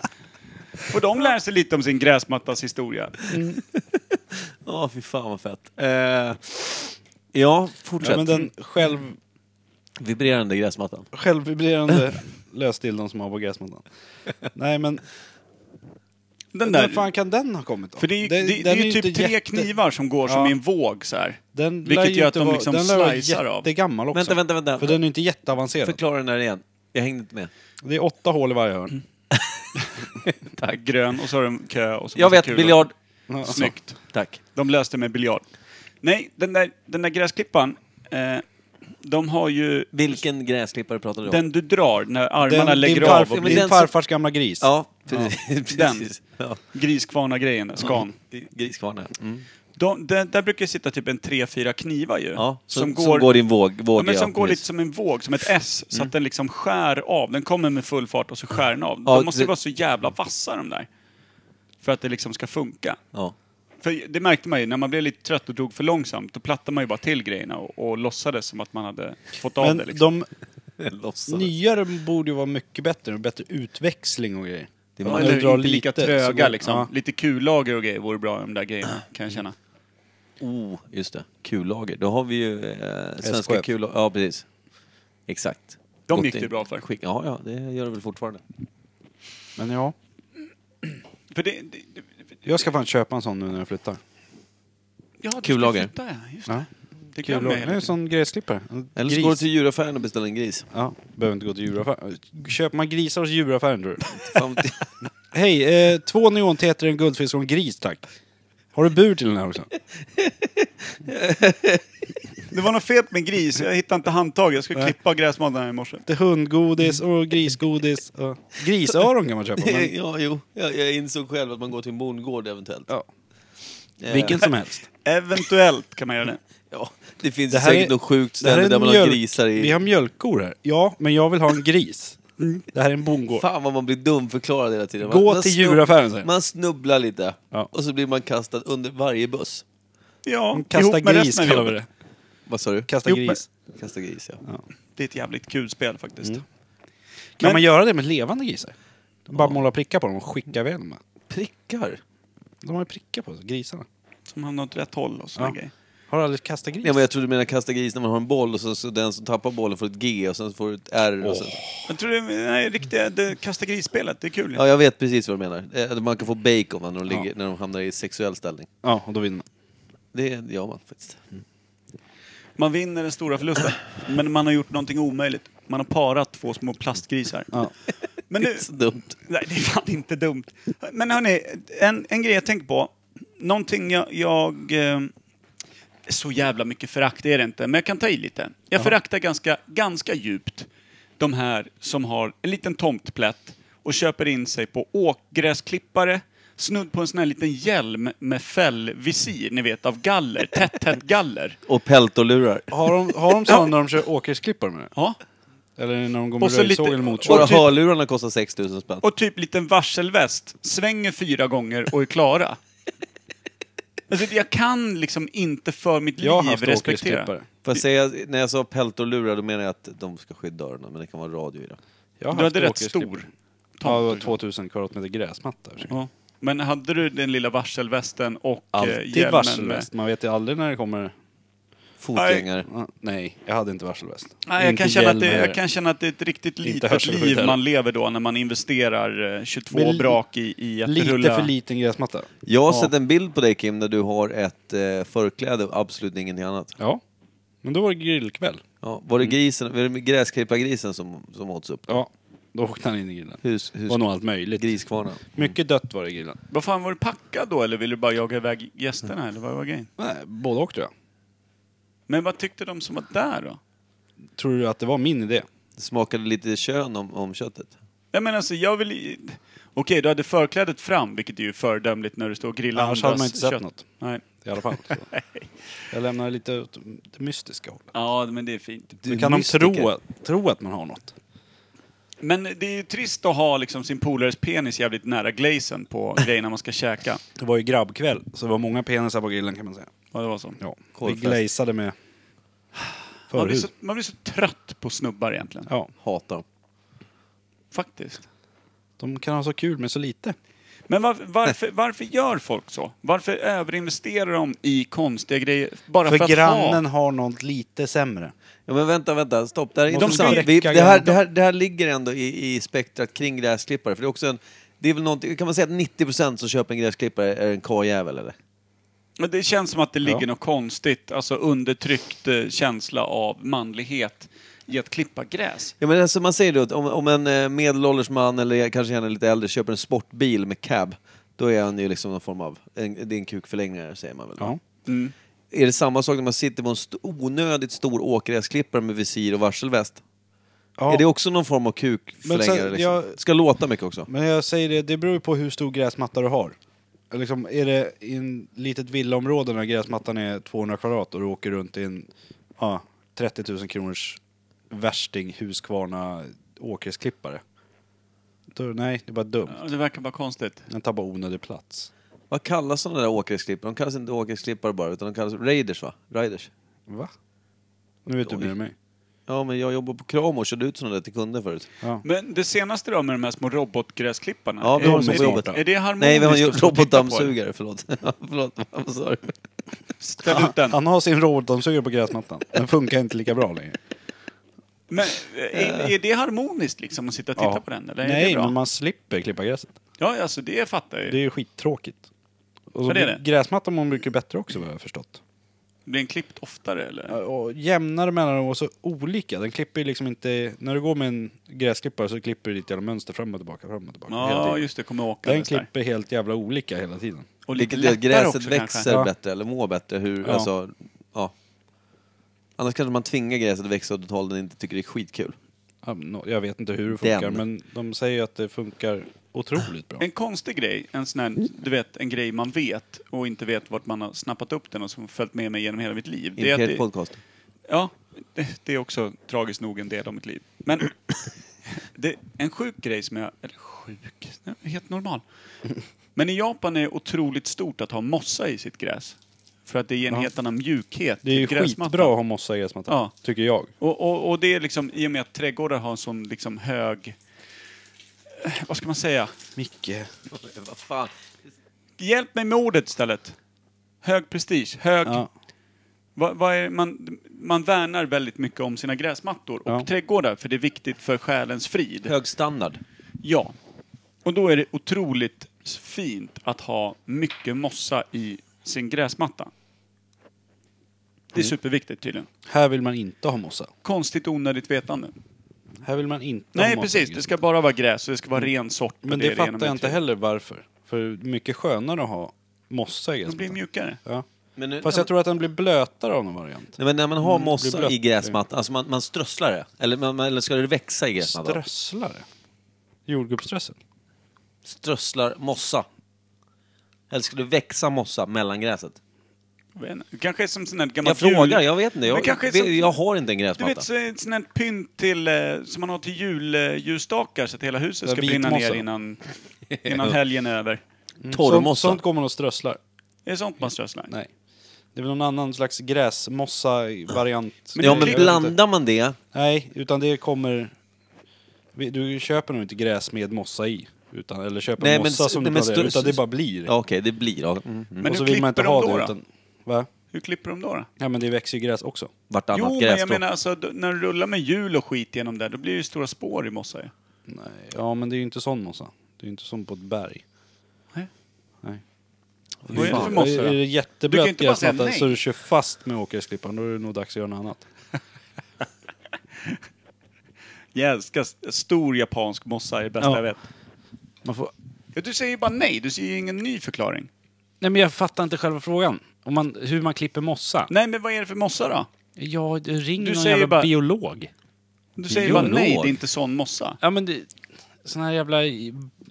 Speaker 3: Får de lära sig lite om sin gräsmattas historia?
Speaker 1: Ja, fy fan vad fett. Eh, ja, fortsätt.
Speaker 4: Ja, men den själv,
Speaker 1: Vibrerande gräsmattan.
Speaker 4: självvibrerande lösdildon som har på gräsmattan. Nej men,
Speaker 3: Den
Speaker 4: När
Speaker 3: där.
Speaker 4: fan kan den ha kommit då?
Speaker 3: För det är ju,
Speaker 4: Den-
Speaker 3: det, det
Speaker 4: den
Speaker 3: är ju typ
Speaker 4: inte
Speaker 3: tre
Speaker 4: jätte-
Speaker 3: knivar som går
Speaker 4: Ja.
Speaker 3: som i en våg så här.
Speaker 4: Den
Speaker 3: Vilket
Speaker 4: lär ju
Speaker 3: gör att
Speaker 4: inte
Speaker 3: de
Speaker 4: vara-
Speaker 3: liksom
Speaker 4: den lär vara
Speaker 3: slicear av.
Speaker 4: jättegammal också.
Speaker 1: Vänta, vänta, vänta.
Speaker 4: För den är ju inte jätteavancerad.
Speaker 1: Förklara den där igen. Jag hängde inte med.
Speaker 4: Det är åtta hål i varje hörn.
Speaker 3: Det här grön och så har de kö och så
Speaker 1: Jag
Speaker 3: massa
Speaker 1: vet,
Speaker 3: kulor.
Speaker 1: biljard.
Speaker 3: Snyggt.
Speaker 1: Tack.
Speaker 3: De löste med biljard. Nej, den där, den där gräsklippan. Eh, de har ju
Speaker 1: Vilken gräsklippare pratade du om?
Speaker 3: den du drar när armarna
Speaker 4: Den, din
Speaker 3: lägger av.
Speaker 4: farf,
Speaker 1: Ja,
Speaker 3: Och
Speaker 1: men
Speaker 4: din
Speaker 1: den som-
Speaker 4: farfars gamla gris.
Speaker 1: Ja, precis.
Speaker 3: Den.
Speaker 1: precis. Ja.
Speaker 3: Griskvarna-grejen, skan.
Speaker 1: Griskvarnar. Mm.
Speaker 3: De, där, där brukar det sitta typ en tre, fyra knivar ju.
Speaker 1: Ja, som, som, går i en våg. våg
Speaker 3: ja, men som går
Speaker 1: precis. Mm.
Speaker 3: lite som en våg, som ett S, så att den liksom skär av. Den kommer med full fart och så skär den av.
Speaker 1: Ja,
Speaker 3: de måste
Speaker 1: det-
Speaker 3: vara så jävla vassa de där. För att det liksom ska funka.
Speaker 1: Ja.
Speaker 3: För det märkte man ju, när man blev lite trött och drog för långsamt, då plattade man ju bara till grejerna och, och låtsades som att man hade fått av
Speaker 4: Men
Speaker 3: det. Liksom.
Speaker 4: de nyare borde ju vara mycket bättre. Bättre utväxling och grejer.
Speaker 1: Det
Speaker 3: Ja,
Speaker 1: man
Speaker 3: eller
Speaker 4: du drar
Speaker 3: inte lika
Speaker 4: lite, så
Speaker 3: tröga
Speaker 4: går-
Speaker 3: liksom.
Speaker 4: ja.
Speaker 3: Lite kullager och grejer vore bra i de där grejerna, kan jag känna.
Speaker 1: Oh, just det. Kullager. Då har vi ju eh, svenska
Speaker 4: SKF.
Speaker 1: kullager. Ja, precis. Exakt.
Speaker 3: De
Speaker 1: Gått
Speaker 3: gick det
Speaker 1: in.
Speaker 3: bra för.
Speaker 1: Skick- Ja, ja, det gör det väl fortfarande.
Speaker 4: Men ja,
Speaker 3: för det, det, det,
Speaker 4: jag ska fan köpa en sån nu när jag flyttar.
Speaker 3: ja, det
Speaker 1: Kullager.
Speaker 3: Ska flytta, ja, just det.
Speaker 4: Ja.
Speaker 3: det
Speaker 4: Kul.
Speaker 3: glömmer
Speaker 4: Det
Speaker 3: jag
Speaker 4: är
Speaker 3: hela
Speaker 4: en
Speaker 3: tiden.
Speaker 4: sån gräsklippare. En
Speaker 1: Eller så
Speaker 4: gris.
Speaker 1: går du till djuraffären och beställer en gris.
Speaker 4: Ja, behöver inte gå till djuraffären. Köper man grisar hos djuraffären tror du?
Speaker 1: Fan, det-
Speaker 4: Hej, eh, två neonteter, en guldfisk och en gris tack. Har du bur till den här också?
Speaker 3: Det var något fet med gris, jag hittade inte handtaget. Jag skulle klippa gräsmattan här i morse.
Speaker 4: Det är hundgodis och grisgodis. Och... Grisöron kan man köpa. Men...
Speaker 1: ja, jo. Jag, jag insåg själv att man går till en bondgård eventuellt.
Speaker 4: Ja.
Speaker 1: Eh,
Speaker 4: Vilken som helst.
Speaker 3: Eventuellt kan man göra det.
Speaker 1: Ja, det finns
Speaker 4: Det här
Speaker 1: säkert
Speaker 4: är-
Speaker 1: något sjukt
Speaker 4: Det här är
Speaker 1: ställe där
Speaker 4: en
Speaker 1: man har
Speaker 4: mjölk-
Speaker 1: grisar i.
Speaker 4: Vi har mjölkkor här. Ja, men jag vill ha en gris. Det här är en bondgård.
Speaker 1: Fan vad man blir dumförklarad hela tiden.
Speaker 4: Gå
Speaker 1: man, man
Speaker 4: till
Speaker 1: snubb-
Speaker 4: djuraffären, säger jag.
Speaker 1: Man snubblar lite
Speaker 4: Ja.
Speaker 1: och så blir man kastad under varje buss.
Speaker 3: Ja,
Speaker 4: Kasta
Speaker 3: ihop med
Speaker 4: gris
Speaker 3: resten av
Speaker 4: kallar vi
Speaker 3: jobbet.
Speaker 4: det.
Speaker 1: Vad sa du?
Speaker 4: Kasta
Speaker 3: Jo, men-
Speaker 4: gris.
Speaker 1: Kasta gris, ja.
Speaker 3: Det är ett jävligt kul spel faktiskt.
Speaker 4: Kan
Speaker 3: Men-
Speaker 4: man göra det med levande grisar? De bara måla prickar på dem och skicka iväg dem.
Speaker 1: Prickar?
Speaker 4: De har ju prickar på sig, grisarna.
Speaker 3: Som hamnar åt rätt håll och såna
Speaker 4: Ja.
Speaker 3: grejer.
Speaker 4: Har du aldrig kastat gris?
Speaker 1: Ja, men jag tror du menar kasta gris när man har en boll och så, så den som tappar bollen får ett G och sen får du ett R. Och sen...
Speaker 3: Jag tror det, nej, riktiga, det kasta grisspelet, det är kul.
Speaker 1: Ja, jag vet precis vad du menar. Eh, att Man kan få bacon va, när de, ligger, när de hamnar i sexuell ställning.
Speaker 4: ja och då vinner man.
Speaker 1: Det gör man faktiskt.
Speaker 3: Man vinner den stora förlusten, men man har gjort någonting omöjligt. Man har parat två små plastgrisar.
Speaker 4: Ja.
Speaker 3: Men
Speaker 1: Det
Speaker 3: nu,
Speaker 1: är så dumt.
Speaker 3: nej, det är fan inte dumt. Men hörni, en, en grej jag tänkt på. Någonting jag... jag eh, så jävla mycket förakt är det inte, men jag kan ta i lite. Jag föraktar ganska, ganska djupt de här som har en liten tomtplätt och köper in sig på åkgräsklippare, snudd på en sån här liten hjälm med fällvisir, ni vet, av galler. Tätt, tätt galler.
Speaker 1: Och peltolurar.
Speaker 4: Har de, har de sådana när de kör åkersklippare med det?
Speaker 3: Ja.
Speaker 4: Eller när de går med
Speaker 3: Och så lite-
Speaker 4: röjsåg eller motorsåg?
Speaker 1: Bara
Speaker 3: typ-
Speaker 1: hörlurarna kostar 6 000 spänn.
Speaker 3: och typ liten varselväst, svänger fyra gånger och är klara. Alltså, jag kan liksom inte för mitt liv
Speaker 4: Jag har haft
Speaker 3: respektera.
Speaker 4: åkersklippare.
Speaker 1: Får jag säga, när jag sa peltolurar då menar jag att de ska skydda öronen, men det kan vara radio i det.
Speaker 4: Jag har
Speaker 3: Du
Speaker 4: haft
Speaker 3: hade rätt
Speaker 4: åkersklippare.
Speaker 3: stor.
Speaker 4: Ja, det var 2000 kvadratmeter gräsmatta.
Speaker 3: Ja. Men hade du den lilla varselvästen och eh,
Speaker 4: Alltid
Speaker 3: hjälmen
Speaker 4: varselväst. Man vet ju aldrig när det kommer...
Speaker 1: Fotgängare.
Speaker 4: Ja, Nej, jag hade inte varselväst.
Speaker 3: Med... Nej, jag,
Speaker 4: Inte
Speaker 3: kan känna att det,
Speaker 4: hjälm heller.
Speaker 3: jag kan känna att det är ett riktigt litet
Speaker 4: hörselskydd
Speaker 3: liv
Speaker 4: heller.
Speaker 3: man lever då när man investerar eh, 22
Speaker 4: Men li-
Speaker 3: brak i, i att
Speaker 4: Lite
Speaker 3: rulla.
Speaker 4: för liten gräsmatta.
Speaker 1: Jag har sett en bild på dig Kim där du har ett eh, förkläde och absolut ingenting annat.
Speaker 4: Ja. Men då var det grillkväll.
Speaker 1: Ja, var det grisen, var det gräsklippargrisen som, som åts upp?
Speaker 4: Mm. Ja. Då åkte han in i grillen.
Speaker 1: Hus,
Speaker 4: Det
Speaker 1: hus,
Speaker 4: var nog allt möjligt.
Speaker 1: griskvarnar.
Speaker 4: Mycket dött var det i grillen.
Speaker 3: Vad fan, var du packad då eller ville du bara jaga iväg gästerna eller vad var grejen?
Speaker 4: Nej, både och tror jag.
Speaker 3: Men vad tyckte de som var där då?
Speaker 4: Tror du att det var min idé?
Speaker 1: Det smakade lite kön om, om köttet.
Speaker 3: Nej men alltså jag vill i- Okej, du hade förklädet fram, vilket är ju föredömligt när du står och grillar
Speaker 4: Annars hade
Speaker 3: andras
Speaker 4: man inte sett
Speaker 3: kött.
Speaker 4: något.
Speaker 3: Nej.
Speaker 4: I alla fall. Så. Jag lämnar lite åt det mystiska hållet.
Speaker 3: Ja, men det är fint.
Speaker 1: Du
Speaker 4: Då kan de
Speaker 1: mystiker.
Speaker 4: tro, tro att man har något.
Speaker 3: Men det är ju trist att ha liksom sin polares penis jävligt nära glazen på grejerna man ska käka.
Speaker 4: Det var ju grabbkväll, så det var många penisar på grillen kan man säga.
Speaker 3: Ja, det var så.
Speaker 4: Ja. Vi
Speaker 1: Kolfest.
Speaker 4: glazade med
Speaker 3: Man blir så,
Speaker 4: förhud.
Speaker 3: man blir så trött på snubbar egentligen.
Speaker 4: Ja,
Speaker 1: Hatar dem.
Speaker 3: Faktiskt.
Speaker 4: de kan ha så kul med så lite.
Speaker 3: Men var, varför, varför gör folk så? Varför överinvesterar de i konstiga grejer? Bara för,
Speaker 4: För
Speaker 3: att
Speaker 4: grannen
Speaker 3: ha?
Speaker 4: har något lite sämre.
Speaker 1: Ja, men vänta, vänta, stopp. Det här är
Speaker 4: Måste
Speaker 1: intressant.
Speaker 4: vi-
Speaker 1: Vi, det, här, det, här, det här ligger ändå i, i spektrat kring gräsklippare, för det är också en, Det är väl någonting, kan man säga att 90% som köper en gräsklippare är en karljävel eller?
Speaker 3: Men det känns som att det ligger något konstigt, alltså undertryckt eh, känsla av manlighet i att klippa gräs.
Speaker 1: Ja, men alltså man säger då att om, om en eh, medelålders man eller kanske gärna lite äldre köper en sportbil med cab, då är han ju liksom någon form av, en, det är en kukförlängare säger man väl?
Speaker 2: Ja.
Speaker 1: Mm. Är det samma sak när man sitter på en st- onödigt stor åkgräsklippare med visir och varselväst?
Speaker 4: Ja.
Speaker 1: Är det också någon form av
Speaker 4: Men
Speaker 1: kukförlängare?
Speaker 4: sen,
Speaker 1: liksom?
Speaker 4: jag-
Speaker 1: Ska låta mycket också?
Speaker 4: Men jag säger det, det beror ju på hur stor gräsmatta du har. Liksom, är det i en litet villaområde när gräsmattan är 200 kvadrat och du åker runt i en ja, 30 000 kronors värsting Huskvarna åkersklippare. Då, nej, det är bara dumt.
Speaker 3: Ja, Det verkar bara konstigt.
Speaker 4: Den tar bara onödig plats.
Speaker 1: Vad kallas sådana där åkgräsklippare? De kallas inte åkgräsklippare bara, utan de kallas raiders va? Riders?
Speaker 4: Va? Nu vet du mer än mig.
Speaker 1: Ja, men jag jobbar på Kramo och körde ut sådana där till kunder förut.
Speaker 4: Ja.
Speaker 3: Men det senaste då med de här små robotgräsklipparna?
Speaker 1: Ja, vi
Speaker 3: är,
Speaker 1: har dem
Speaker 3: är,
Speaker 1: på
Speaker 3: det-
Speaker 1: jobbet.
Speaker 3: är det harmoniskt
Speaker 1: Nej, vi har ju
Speaker 3: att stå och titta på det?
Speaker 1: robotdammsugare, förlåt. Ja, förlåt, vad sa du?
Speaker 3: Ställ ut den.
Speaker 4: Han har sin robotdammsugare på gräsmattan. Den funkar inte lika bra längre.
Speaker 3: Men eh, är, är det harmoniskt liksom att sitta och titta
Speaker 4: Ja.
Speaker 3: på den? Eller är det
Speaker 4: Nej,
Speaker 3: bra?
Speaker 4: men man slipper klippa gräset.
Speaker 3: Ja, alltså det fattar jag ju.
Speaker 4: Det är ju skittråkigt. Och så
Speaker 3: Ja, det är
Speaker 4: blir
Speaker 3: det.
Speaker 4: gräsmattan mår mycket bättre också vad jag har förstått.
Speaker 3: Blir den klippt oftare eller?
Speaker 4: Och jämnare mellan dem och så olika. Den klipper ju liksom inte... När du går med en gräsklippare så klipper du ditt jävla mönster fram och tillbaka, fram och tillbaka. hela
Speaker 3: Ja,
Speaker 4: tiden.
Speaker 3: just det. Kommer åka
Speaker 4: Den
Speaker 3: där.
Speaker 4: klipper helt jävla olika hela tiden.
Speaker 3: Och lite
Speaker 1: Vilket gör att
Speaker 3: lättare
Speaker 1: gräset
Speaker 3: också, kanske.
Speaker 1: växer
Speaker 4: Ja.
Speaker 1: bättre, eller mår bättre. Hur,
Speaker 4: Ja.
Speaker 1: Alltså, ja. Annars kanske man tvingar gräset att växa åt ett håll den inte tycker det är skitkul.
Speaker 4: Ja, nå- Jag vet inte hur det funkar,
Speaker 1: Den.
Speaker 4: men de säger ju att det funkar otroligt bra.
Speaker 3: En konstig grej, en sån här, du vet, en grej man vet och inte vet vart man har snappat upp den och som följt med mig genom hela mitt liv. Det är
Speaker 1: Imperiet
Speaker 3: att det,
Speaker 1: Podcast.
Speaker 3: ja, det, det är också tragiskt nog en del av mitt liv. Men det, en sjuk grej som jag, eller sjuk, nej, helt normal. Men i Japan är det otroligt stort att ha mossa i sitt gräs. För att det ger en helt annan mjukhet
Speaker 4: Det är ju
Speaker 3: till gräsmattan.
Speaker 4: skitbra att ha mossa i gräsmattan,
Speaker 3: Ja.
Speaker 4: tycker jag.
Speaker 3: Och, och, och det är liksom, i och med att trädgårdar har en sån liksom hög, eh, vad ska man säga?
Speaker 4: Micke.
Speaker 1: Vad fan?
Speaker 3: Hjälp mig med ordet istället. Hög prestige, hög...
Speaker 4: Ja.
Speaker 3: Vad, vad är, man, man värnar väldigt mycket om sina gräsmattor och
Speaker 4: Ja.
Speaker 3: trädgårdar för det är viktigt för själens frid.
Speaker 1: Hög standard.
Speaker 3: Ja. Och då är det otroligt fint att ha mycket mossa i sin gräsmatta. Det är
Speaker 4: Mm.
Speaker 3: superviktigt tydligen.
Speaker 4: Här vill man inte ha mossa.
Speaker 3: Konstigt onödigt vetande.
Speaker 4: Här vill man inte ha
Speaker 3: Nej
Speaker 4: mossa i
Speaker 3: precis, det
Speaker 4: gräsmattan.
Speaker 3: ska bara vara gräs och det ska vara ren sort. och
Speaker 4: Men det,
Speaker 3: är genom
Speaker 4: fattar jag inte
Speaker 3: uttryck.
Speaker 4: heller varför. För det är mycket skönare att ha mossa i
Speaker 3: De blir
Speaker 4: gräsmattan.
Speaker 3: mjukare.
Speaker 4: Ja.
Speaker 1: Men, nu-
Speaker 4: Fast jag tror att den blir blötare av någon variant.
Speaker 1: Nej, men när man har mossa
Speaker 4: blött.
Speaker 1: i gräsmattan, alltså man, man strösslar det? Eller, man, man- eller ska det växa i gräsmattan?
Speaker 4: Strösslare? Jordgubbsströssel?
Speaker 1: Mm. Strösslar mossa. Eller ska det växa mossa mellan gräset?
Speaker 3: Jag vet inte. Kanske är som sån här gammal
Speaker 1: Jag frågar,
Speaker 3: jul-
Speaker 1: jag vet inte.
Speaker 3: Det
Speaker 1: Jag,
Speaker 3: kanske är
Speaker 1: vi-
Speaker 3: som-
Speaker 1: jag har inte en
Speaker 3: Du
Speaker 1: gräsmatta.
Speaker 3: vet, så ett sånt här pynt till, eh, som man har till jullljusstakar så att hela huset
Speaker 4: Ja,
Speaker 3: ska brinna ner
Speaker 4: vitmossa.
Speaker 3: innan, innan helgen är över.
Speaker 4: Mm. Sånt,
Speaker 1: Torrmossa.
Speaker 4: sånt går man och strösslar.
Speaker 3: Är det sånt man strösslar?
Speaker 4: Nej. Det är väl någon annan slags gräsmossa-variant.
Speaker 3: Men
Speaker 1: Ja,
Speaker 3: det-
Speaker 1: men
Speaker 3: jag
Speaker 1: blandar man det...
Speaker 4: Nej, utan det kommer... vi- Du köper nog inte gräs med mossa i. Utan, eller köper
Speaker 1: Nej, men
Speaker 4: mossa
Speaker 1: s-
Speaker 4: som
Speaker 1: nej,
Speaker 4: du
Speaker 1: men
Speaker 4: planerar,
Speaker 1: stö-
Speaker 4: utan det bara blir.
Speaker 1: Ja, okej, det blir... Ja. Mm.
Speaker 3: Men
Speaker 4: och
Speaker 3: hur
Speaker 4: så vill man inte
Speaker 3: klipper
Speaker 4: ha
Speaker 3: de då,
Speaker 4: det.
Speaker 3: då?
Speaker 4: Utan, va?
Speaker 3: Hur klipper de då? då?
Speaker 4: Ja, men det växer ju gräs också.
Speaker 1: Vartannat
Speaker 3: Jo, men
Speaker 1: gräs
Speaker 3: jag
Speaker 1: då.
Speaker 3: menar alltså, d- när du rullar med hjul och skit genom där, då blir det ju stora spår i mossa ju.
Speaker 4: Nej, ja, men det är ju inte sån mossa. Det är ju inte som på ett berg.
Speaker 3: Nej.
Speaker 4: Nej.
Speaker 3: Vad är det för
Speaker 4: Fan,
Speaker 3: mossa
Speaker 4: Är det
Speaker 3: då? Du kan
Speaker 4: jätteblöt
Speaker 3: inte bara säga
Speaker 4: gräsmatta
Speaker 3: nej.
Speaker 4: så du kör fast med åkersklipparen, då är det nog dags att göra något annat.
Speaker 3: Jag älskar s- stor japansk mossa, är det bästa
Speaker 4: Ja.
Speaker 3: jag vet.
Speaker 4: Man får...
Speaker 3: Ja, du säger ju bara nej, du säger ju ingen ny förklaring.
Speaker 2: Nej, men jag fattar inte själva frågan. Om man, hur man klipper mossa.
Speaker 3: Nej, men vad är det för mossa då?
Speaker 2: Ja, du ring
Speaker 3: Du
Speaker 2: någon
Speaker 3: säger
Speaker 2: jävla
Speaker 3: bara-
Speaker 2: biolog.
Speaker 3: Du säger ju bara nej,
Speaker 1: Biolog.
Speaker 3: det är inte sån mossa.
Speaker 2: Ja, men det, sån här jävla...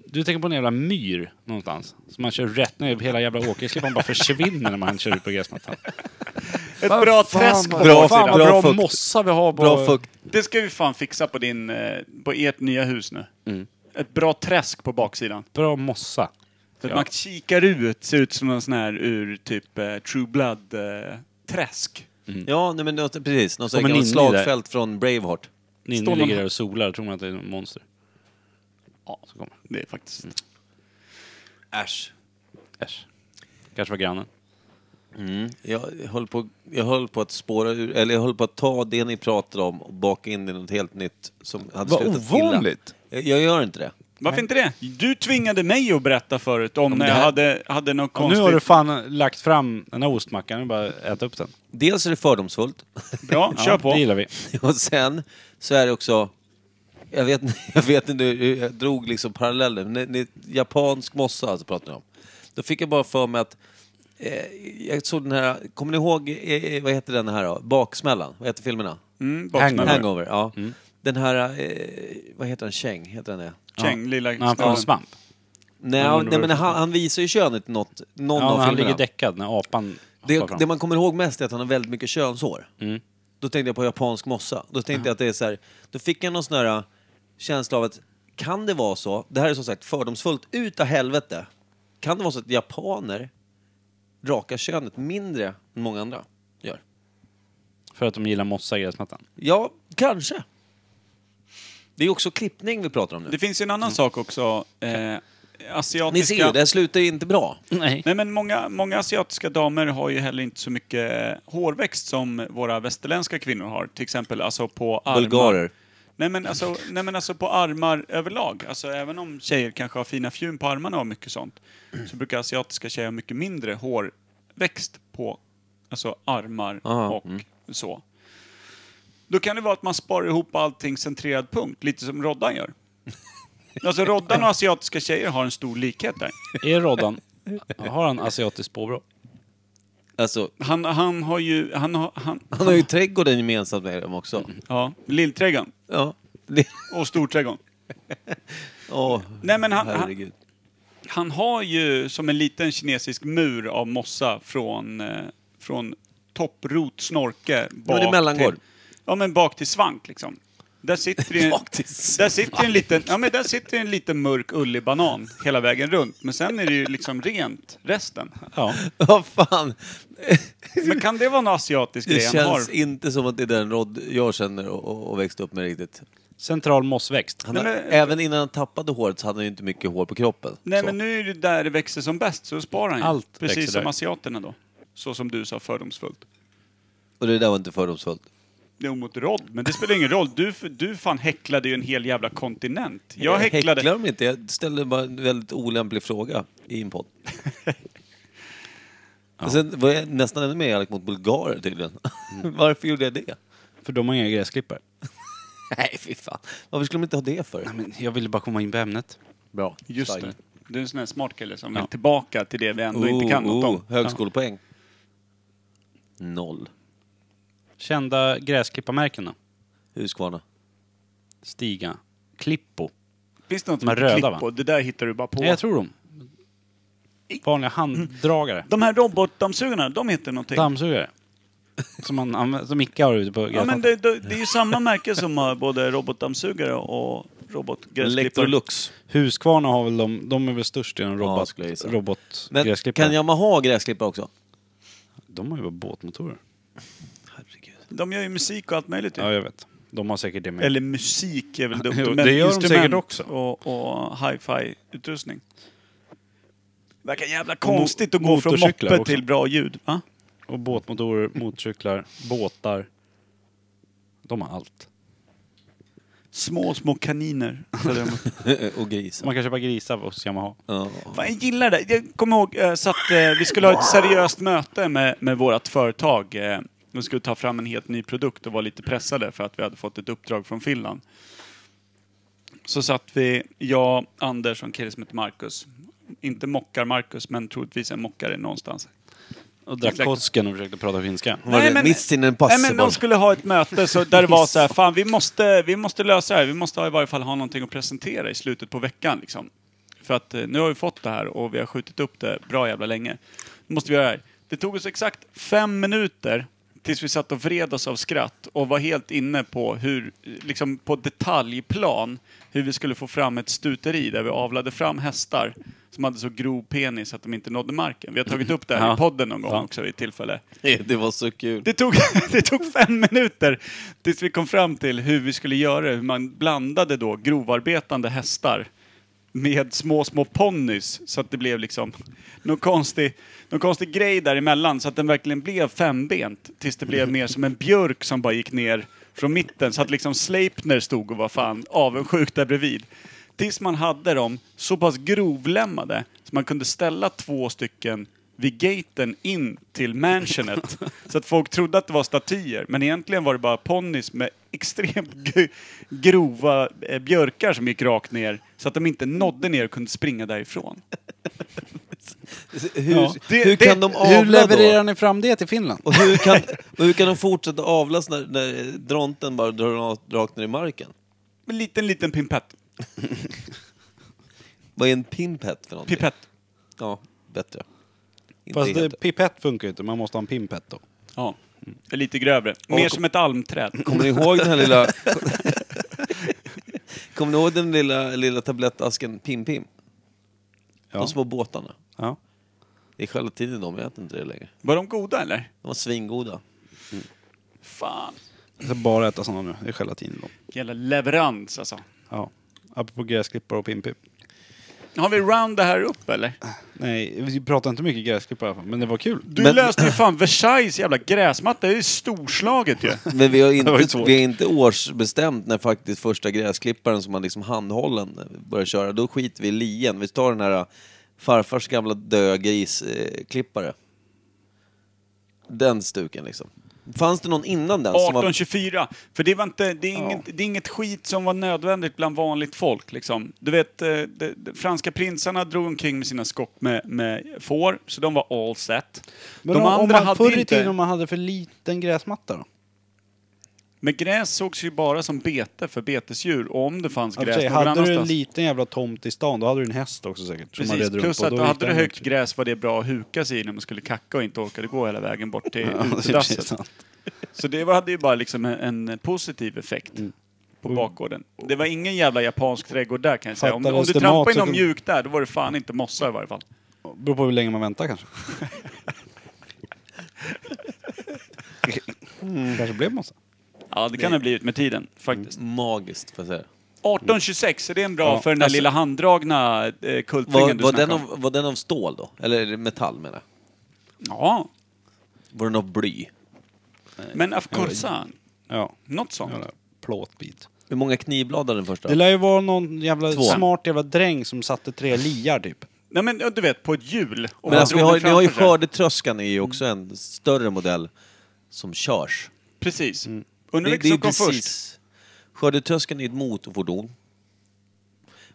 Speaker 2: Du tänker på en jävla myr någonstans. Som man kör rätt ner i hela jävla åkerklippan bara försvinner när man kör ut på gräsmattan.
Speaker 3: Ett bra träsk på
Speaker 1: Bra
Speaker 2: Fan
Speaker 3: baksidan.
Speaker 2: vad
Speaker 1: bra
Speaker 2: bra
Speaker 1: fukt.
Speaker 2: mossa vi har på...
Speaker 1: Bra fukt.
Speaker 3: Det ska vi fan fixa på, din, eh, på ert nya hus nu.
Speaker 2: Mm.
Speaker 3: Ett bra träsk på baksidan.
Speaker 2: Bra mossa.
Speaker 3: Så att man kikar ut, ser ut som en sån här ur typ eh, True eh, Blood-träsk.
Speaker 1: Ja, nej, men något, precis. Något sånt
Speaker 2: Kommer
Speaker 1: här gammalt
Speaker 2: in i det.
Speaker 1: slagfält från Braveheart.
Speaker 2: Ninni
Speaker 3: Står någon-
Speaker 2: ligger där och solar, tror man att det är en monster. Ja, så kommer Mm.
Speaker 3: det är faktiskt...
Speaker 1: Äsch.
Speaker 2: Äsch. Kanske var grannen.
Speaker 1: Jag höll, på, jag höll på att spåra ur, eller jag höll på att ta det ni pratade om och baka in det i något helt nytt som hade
Speaker 4: Vad
Speaker 1: slutat illa.
Speaker 4: ovanligt.
Speaker 1: Jag, jag gör inte det.
Speaker 3: Varför inte det? Du tvingade mig att berätta förut om när
Speaker 1: det
Speaker 3: jag
Speaker 1: här-
Speaker 3: hade, hade något
Speaker 2: Och nu
Speaker 3: konstigt.
Speaker 2: har du fan lagt fram den här ostmackan, nu bara att äta upp den.
Speaker 1: Dels är det fördomsfullt,
Speaker 3: Ja, kör på.
Speaker 2: Det gillar vi.
Speaker 1: och sen så är det också... Jag vet, jag vet inte hur jag drog liksom paralleller. Ni, ni, japansk mossa alltså pratar ni om. Då fick jag bara för mig att... Eh, jag såg den här... Kommer ni ihåg, eh, vad heter den här då? Baksmällan? Vad heter filmerna?
Speaker 3: Mm, baksmällan.
Speaker 1: Hangover, ja.
Speaker 2: Mm.
Speaker 1: Den här... Eh, vad heter den? Cheng, heter den det?
Speaker 3: Käng, lilla
Speaker 2: När han får en
Speaker 3: snubben.
Speaker 2: svamp.
Speaker 1: Nej,
Speaker 2: Ja, men det
Speaker 1: nej
Speaker 2: var
Speaker 1: men
Speaker 2: ju-
Speaker 1: han, han visar ju könet i något, någon
Speaker 2: Ja,
Speaker 1: av
Speaker 2: när han
Speaker 1: filmerna.
Speaker 2: ligger däckad när apan hoppar
Speaker 1: Det,
Speaker 2: fram.
Speaker 1: det man kommer ihåg mest är att han har väldigt mycket könshår.
Speaker 2: Mm.
Speaker 1: Då tänkte jag på japansk mossa. Då tänkte jag att det är så här, då fick jag någon sån här äh, känsla av att kan det vara så, det här är som sagt fördomsfullt utav helvete, kan det vara så att japaner rakar könet mindre än många andra gör?
Speaker 2: För att de gillar mossa i gräsmattan.
Speaker 1: Ja, kanske. Det är också klippning vi pratar om nu.
Speaker 3: Det finns ju en annan
Speaker 2: Mm.
Speaker 3: sak också. Eh, asiatiska...
Speaker 1: Ni ser ju, det här slutar ju inte bra.
Speaker 2: Nej.
Speaker 3: Nej, men många, många asiatiska damer har ju heller inte så mycket eh, hårväxt som våra västerländska kvinnor har. Till exempel alltså på armar.
Speaker 1: Bulgarer.
Speaker 3: Nej men, alltså, nej men alltså på armar överlag. Alltså även om tjejer kanske har fina fjun på armarna och mycket sånt. Så brukar asiatiska tjejer ha mycket mindre hårväxt på alltså armar
Speaker 1: Aha,
Speaker 3: och så. Då kan det vara att man sparar ihop allting centrerad punkt, lite som Roddan gör. Alltså Roddan och asiatiska tjejer har en stor likhet där.
Speaker 2: Är Roddan... Har han asiatiskt påbrå?
Speaker 1: Alltså,
Speaker 3: Han, han har ju... Han har, han,
Speaker 1: han har ju trädgården gemensamt med dem också.
Speaker 3: ja, lillträdgården
Speaker 1: Ja. Det-
Speaker 3: och storträdgården.
Speaker 1: Åh,
Speaker 3: Nej men han, han,
Speaker 1: herregud.
Speaker 3: Han har ju som en liten kinesisk mur av mossa från, eh, från topprot, snorke,
Speaker 1: det är
Speaker 3: bak
Speaker 1: mellangård.
Speaker 3: till... Ja, men bak till svank liksom. Där sitter ju en,
Speaker 1: Bak till svank.
Speaker 3: där sitter ju en liten, ja men där sitter ju en liten mörk ullig banan hela vägen runt. Men sen är det ju liksom rent resten.
Speaker 2: Ja.
Speaker 1: Vad fan.
Speaker 3: Men kan det vara en asiatisk
Speaker 1: Det
Speaker 3: grej han har?
Speaker 1: känns inte som att det är den Rod jag känner och- och, och växte upp med riktigt.
Speaker 2: Central mossväxt.
Speaker 1: Han
Speaker 3: Nej,
Speaker 1: har,
Speaker 3: men-
Speaker 1: även innan han tappade håret så hade han ju inte mycket hår på kroppen.
Speaker 3: Nej
Speaker 1: så.
Speaker 3: men nu är det där det växer som bäst, så sparar han ju.
Speaker 2: Allt växer
Speaker 3: Precis som
Speaker 2: där.
Speaker 3: asiaterna då. Så som du sa fördomsfullt.
Speaker 1: Och det där var inte fördomsfullt.
Speaker 3: Jo, mot Rod, men det spelar ingen roll. Du, du fan häcklade ju en hel jävla kontinent. Jag häcklade...
Speaker 1: Eh, Häcklar de inte? Jag ställde bara en väldigt olämplig fråga i en podd. Och Sen var jag nästan ännu mer elak mot bulgarer tydligen.
Speaker 3: Mm.
Speaker 1: Varför gjorde jag det?
Speaker 2: För de har inga gräsklippare.
Speaker 1: Nej, fy fan. Varför skulle de inte ha det för?
Speaker 2: Men jag ville bara komma in på ämnet.
Speaker 1: Bra.
Speaker 3: Just
Speaker 1: Stein.
Speaker 3: det. Du är en sån här smart kille som
Speaker 2: Ja. Oh,
Speaker 3: vill tillbaka till det vi ändå inte kan något om.
Speaker 1: Oh, högskolepoäng. Noll.
Speaker 2: Kända gräsklipparmärken då?
Speaker 1: Husqvarna.
Speaker 2: Stiga. Klippo.
Speaker 3: Finns det något
Speaker 2: De
Speaker 3: som
Speaker 2: är röda,
Speaker 3: röda,
Speaker 2: va?
Speaker 3: klipp Det där hittar du bara på.
Speaker 2: Nej, jag tror dem. Vanliga handdragare.
Speaker 3: De här robotdammsugarna, de heter någonting.
Speaker 2: Dammsugare. Som, man använder, som Micke har ute på
Speaker 3: ja,
Speaker 2: gräsmattan.
Speaker 3: men det, det, det är ju samma märke som har både robotdammsugare och robotgräsklippare.
Speaker 1: Electrolux.
Speaker 2: Husqvarna har väl de, de är väl störst i en
Speaker 1: Ja,
Speaker 2: robot,
Speaker 1: skulle jag gissa. Men
Speaker 2: robotgräsklippare.
Speaker 1: kan Yamaha gräsklippa också?
Speaker 2: De har ju bara båtmotorer.
Speaker 1: Typ. Herregud.
Speaker 3: De gör ju musik och allt möjligt ju.
Speaker 2: Ja, jag vet. De har säkert det med.
Speaker 3: Eller musik är väl dumt.
Speaker 2: Mm. Jo,
Speaker 3: men
Speaker 2: det gör de
Speaker 3: instrument
Speaker 2: säkert också.
Speaker 3: Och, och hi-fi-utrustning. Verkar jävla konstigt att gå från
Speaker 2: motorcyklar
Speaker 3: moppe
Speaker 2: också.
Speaker 3: till bra ljud. Va?
Speaker 2: Och båtmotorer, motorcyklar, båtar. De har allt.
Speaker 3: Små, små kaniner. Så det-
Speaker 1: Och grisar.
Speaker 2: Man kan köpa grisar hos Yamaha.
Speaker 1: Ja.
Speaker 3: Fan, jag gillar det. Jag kommer ihåg eh, så att eh, vi skulle ha ett seriöst möte med, med vårt företag. Eh, vi skulle ta fram en helt ny produkt och var lite pressade för att vi hade fått ett uppdrag från Finland. Så satt vi, jag, Anders och en kille som heter Marcus. Inte mockar-Marcus, men troligtvis en mockare någonstans.
Speaker 2: Och drack
Speaker 3: Exakt.
Speaker 2: Kosken och försökte prata finska.
Speaker 1: Var det miss in en pass
Speaker 3: nej, men
Speaker 1: bara?
Speaker 3: de skulle ha ett möte så där det var så här, fan vi måste, vi måste lösa det här. Vi måste i varje fall ha någonting att presentera i slutet på veckan. Liksom. För att eh, nu har vi fått det här och vi har skjutit upp det bra jävla länge. Nu måste vi göra det här. Det tog oss exakt fem minuter tills vi satt och vred oss av skratt och var helt inne på hur, liksom på detaljplan, hur vi skulle få fram ett stuteri där vi avlade fram hästar som hade så grov penis att de inte nådde marken. Vi har tagit upp det här
Speaker 2: Ja.
Speaker 3: i podden någon gång
Speaker 2: Ja.
Speaker 3: också vid ett tillfälle.
Speaker 1: Det var så kul.
Speaker 3: Det tog, det tog fem minuter tills vi kom fram till hur vi skulle göra det. Hur man blandade då grovarbetande hästar med små, små ponnys så att det blev liksom någon konstig, någon konstig grej däremellan så att den verkligen blev fembent tills det blev mer som en björk som bara gick ner från mitten så att liksom Sleipner stod och var fan avundsjuk där bredvid. tills man hade dem så pass grovlämmade så man kunde ställa två stycken vid gaten in till mansionet. så att folk trodde att det var statyer, men egentligen var det bara ponnis med extremt g- grova eh, björkar som gick rakt ner så att de inte nådde ner och kunde springa därifrån.
Speaker 1: Hur,
Speaker 3: Ja. Det-
Speaker 1: hur
Speaker 3: det-
Speaker 1: kan de avla
Speaker 4: Hur levererar
Speaker 1: då?
Speaker 4: ni fram det till Finland?
Speaker 1: Och hur kan, och hur kan de fortsätta avlas när, när dronten bara drar rakt- rakt ner i marken?
Speaker 3: En liten, liten pimpett.
Speaker 1: Vad är en pinpet för någonting?
Speaker 3: Pipett.
Speaker 1: Ja, bättre. Inte
Speaker 4: Fast det,
Speaker 1: helt.
Speaker 4: pipett funkar ju inte, man måste ha en pimpett då.
Speaker 3: Ja. Lite grövre. Mer
Speaker 1: Och-
Speaker 3: som ett almträd.
Speaker 1: Kommer ni ihåg den här lilla... Kommer ni ihåg den lilla, lilla tablettasken Pim-Pim?
Speaker 4: Ja.
Speaker 1: De små båtarna.
Speaker 4: Ja.
Speaker 1: Det är gelatin i dem, jag äter inte det längre.
Speaker 3: Var de goda eller?
Speaker 1: De var svingoda.
Speaker 3: Fan.
Speaker 4: Jag ska bara äta sådana nu, det är gelatin i dem.
Speaker 3: Jävla leverans alltså.
Speaker 4: Ja. Apropå gräsklippare och pimpip.
Speaker 3: Har vi round det här upp eller?
Speaker 4: Nej, vi pratar inte mycket gräsklippare i alla fall, men det var kul.
Speaker 3: Du
Speaker 1: Men-
Speaker 3: löste ju fan Versailles jävla gräsmatta, det är ju storslaget ju.
Speaker 1: Men vi har
Speaker 4: var ju
Speaker 1: inte,
Speaker 4: svårt.
Speaker 1: vi är inte årsbestämt när faktiskt första gräsklipparen som man liksom handhållen börjar köra. Då skiter vi i lien. Vi tar den här äh, farfars gamla döda grisklippare. Den stuken liksom. Fanns det någon innan den? som var...
Speaker 3: 1824. För det, var inte, det, är inget, det är inget skit som var nödvändigt bland vanligt folk. Liksom. Du vet, eh, de, de franska prinsarna drog omkring med sina skott med, med får, så de var all set.
Speaker 4: Men
Speaker 3: de
Speaker 4: om,
Speaker 3: andra
Speaker 4: om man,
Speaker 3: hade
Speaker 4: förr i
Speaker 3: inte...
Speaker 4: tiden om man hade för liten gräsmatta då?
Speaker 3: Men gräs sågs ju bara som bete för betesdjur, och om det fanns
Speaker 4: Ja,
Speaker 3: gräs
Speaker 4: för sig,
Speaker 3: någon
Speaker 4: hade du en
Speaker 3: annanstans.
Speaker 4: liten jävla tomt i stan, då hade du en häst också säkert. som man
Speaker 3: Precis,
Speaker 4: red runt
Speaker 3: plus
Speaker 4: på.
Speaker 3: att
Speaker 4: Då
Speaker 3: då
Speaker 4: gick
Speaker 3: hade du
Speaker 4: den
Speaker 3: högt
Speaker 4: runt.
Speaker 3: gräs var det bra att huka sig i när man skulle kacka och inte orkade gå hela vägen bort till
Speaker 4: Ja, det är precis
Speaker 3: utedasset.
Speaker 4: sant.
Speaker 3: Så det var- hade ju bara liksom en, en positiv effekt
Speaker 1: Mm.
Speaker 3: på bakgården. Det var ingen jävla japansk trädgård där kan jag säga. Om, om
Speaker 4: Fattades
Speaker 3: du
Speaker 4: det
Speaker 3: trampade
Speaker 4: mat
Speaker 3: i
Speaker 4: så
Speaker 3: någon
Speaker 4: kom-
Speaker 3: mjuk där, då var det fan inte mossa i varje fall.
Speaker 4: Beror på hur länge man väntar kanske. Mm. Kanske blev massa.
Speaker 3: Ja, det kan ha blivit med tiden faktiskt.
Speaker 1: Magiskt, får jag säga.
Speaker 3: 1826, är det en bra för den där
Speaker 1: Alltså-
Speaker 3: lilla handdragna eh, kultringen
Speaker 1: Var,
Speaker 3: du
Speaker 1: var, den
Speaker 3: snackade om?
Speaker 1: av, var den av stål då? Eller metall menar jag.
Speaker 3: Ja,
Speaker 1: Var den av bly?
Speaker 3: men of course,
Speaker 4: Ja.
Speaker 3: något sånt.
Speaker 4: Jävla Plåtbit.
Speaker 1: Hur många knivblad hade den första?
Speaker 4: Det lär ju vara någon jävla
Speaker 1: Två.
Speaker 4: smart jävla dräng som satte tre liar typ.
Speaker 3: Nej men ja, du vet, på ett hjul. Och
Speaker 1: Men alltså, vi
Speaker 3: drog
Speaker 1: har,
Speaker 3: den
Speaker 1: ni har ju
Speaker 3: framför sig.
Speaker 1: skördetröskan är ju också en större modell som körs.
Speaker 3: Precis.
Speaker 1: Mm.
Speaker 3: Undrar vilken som kom först.
Speaker 1: Skördetröskan är ett motorfordon.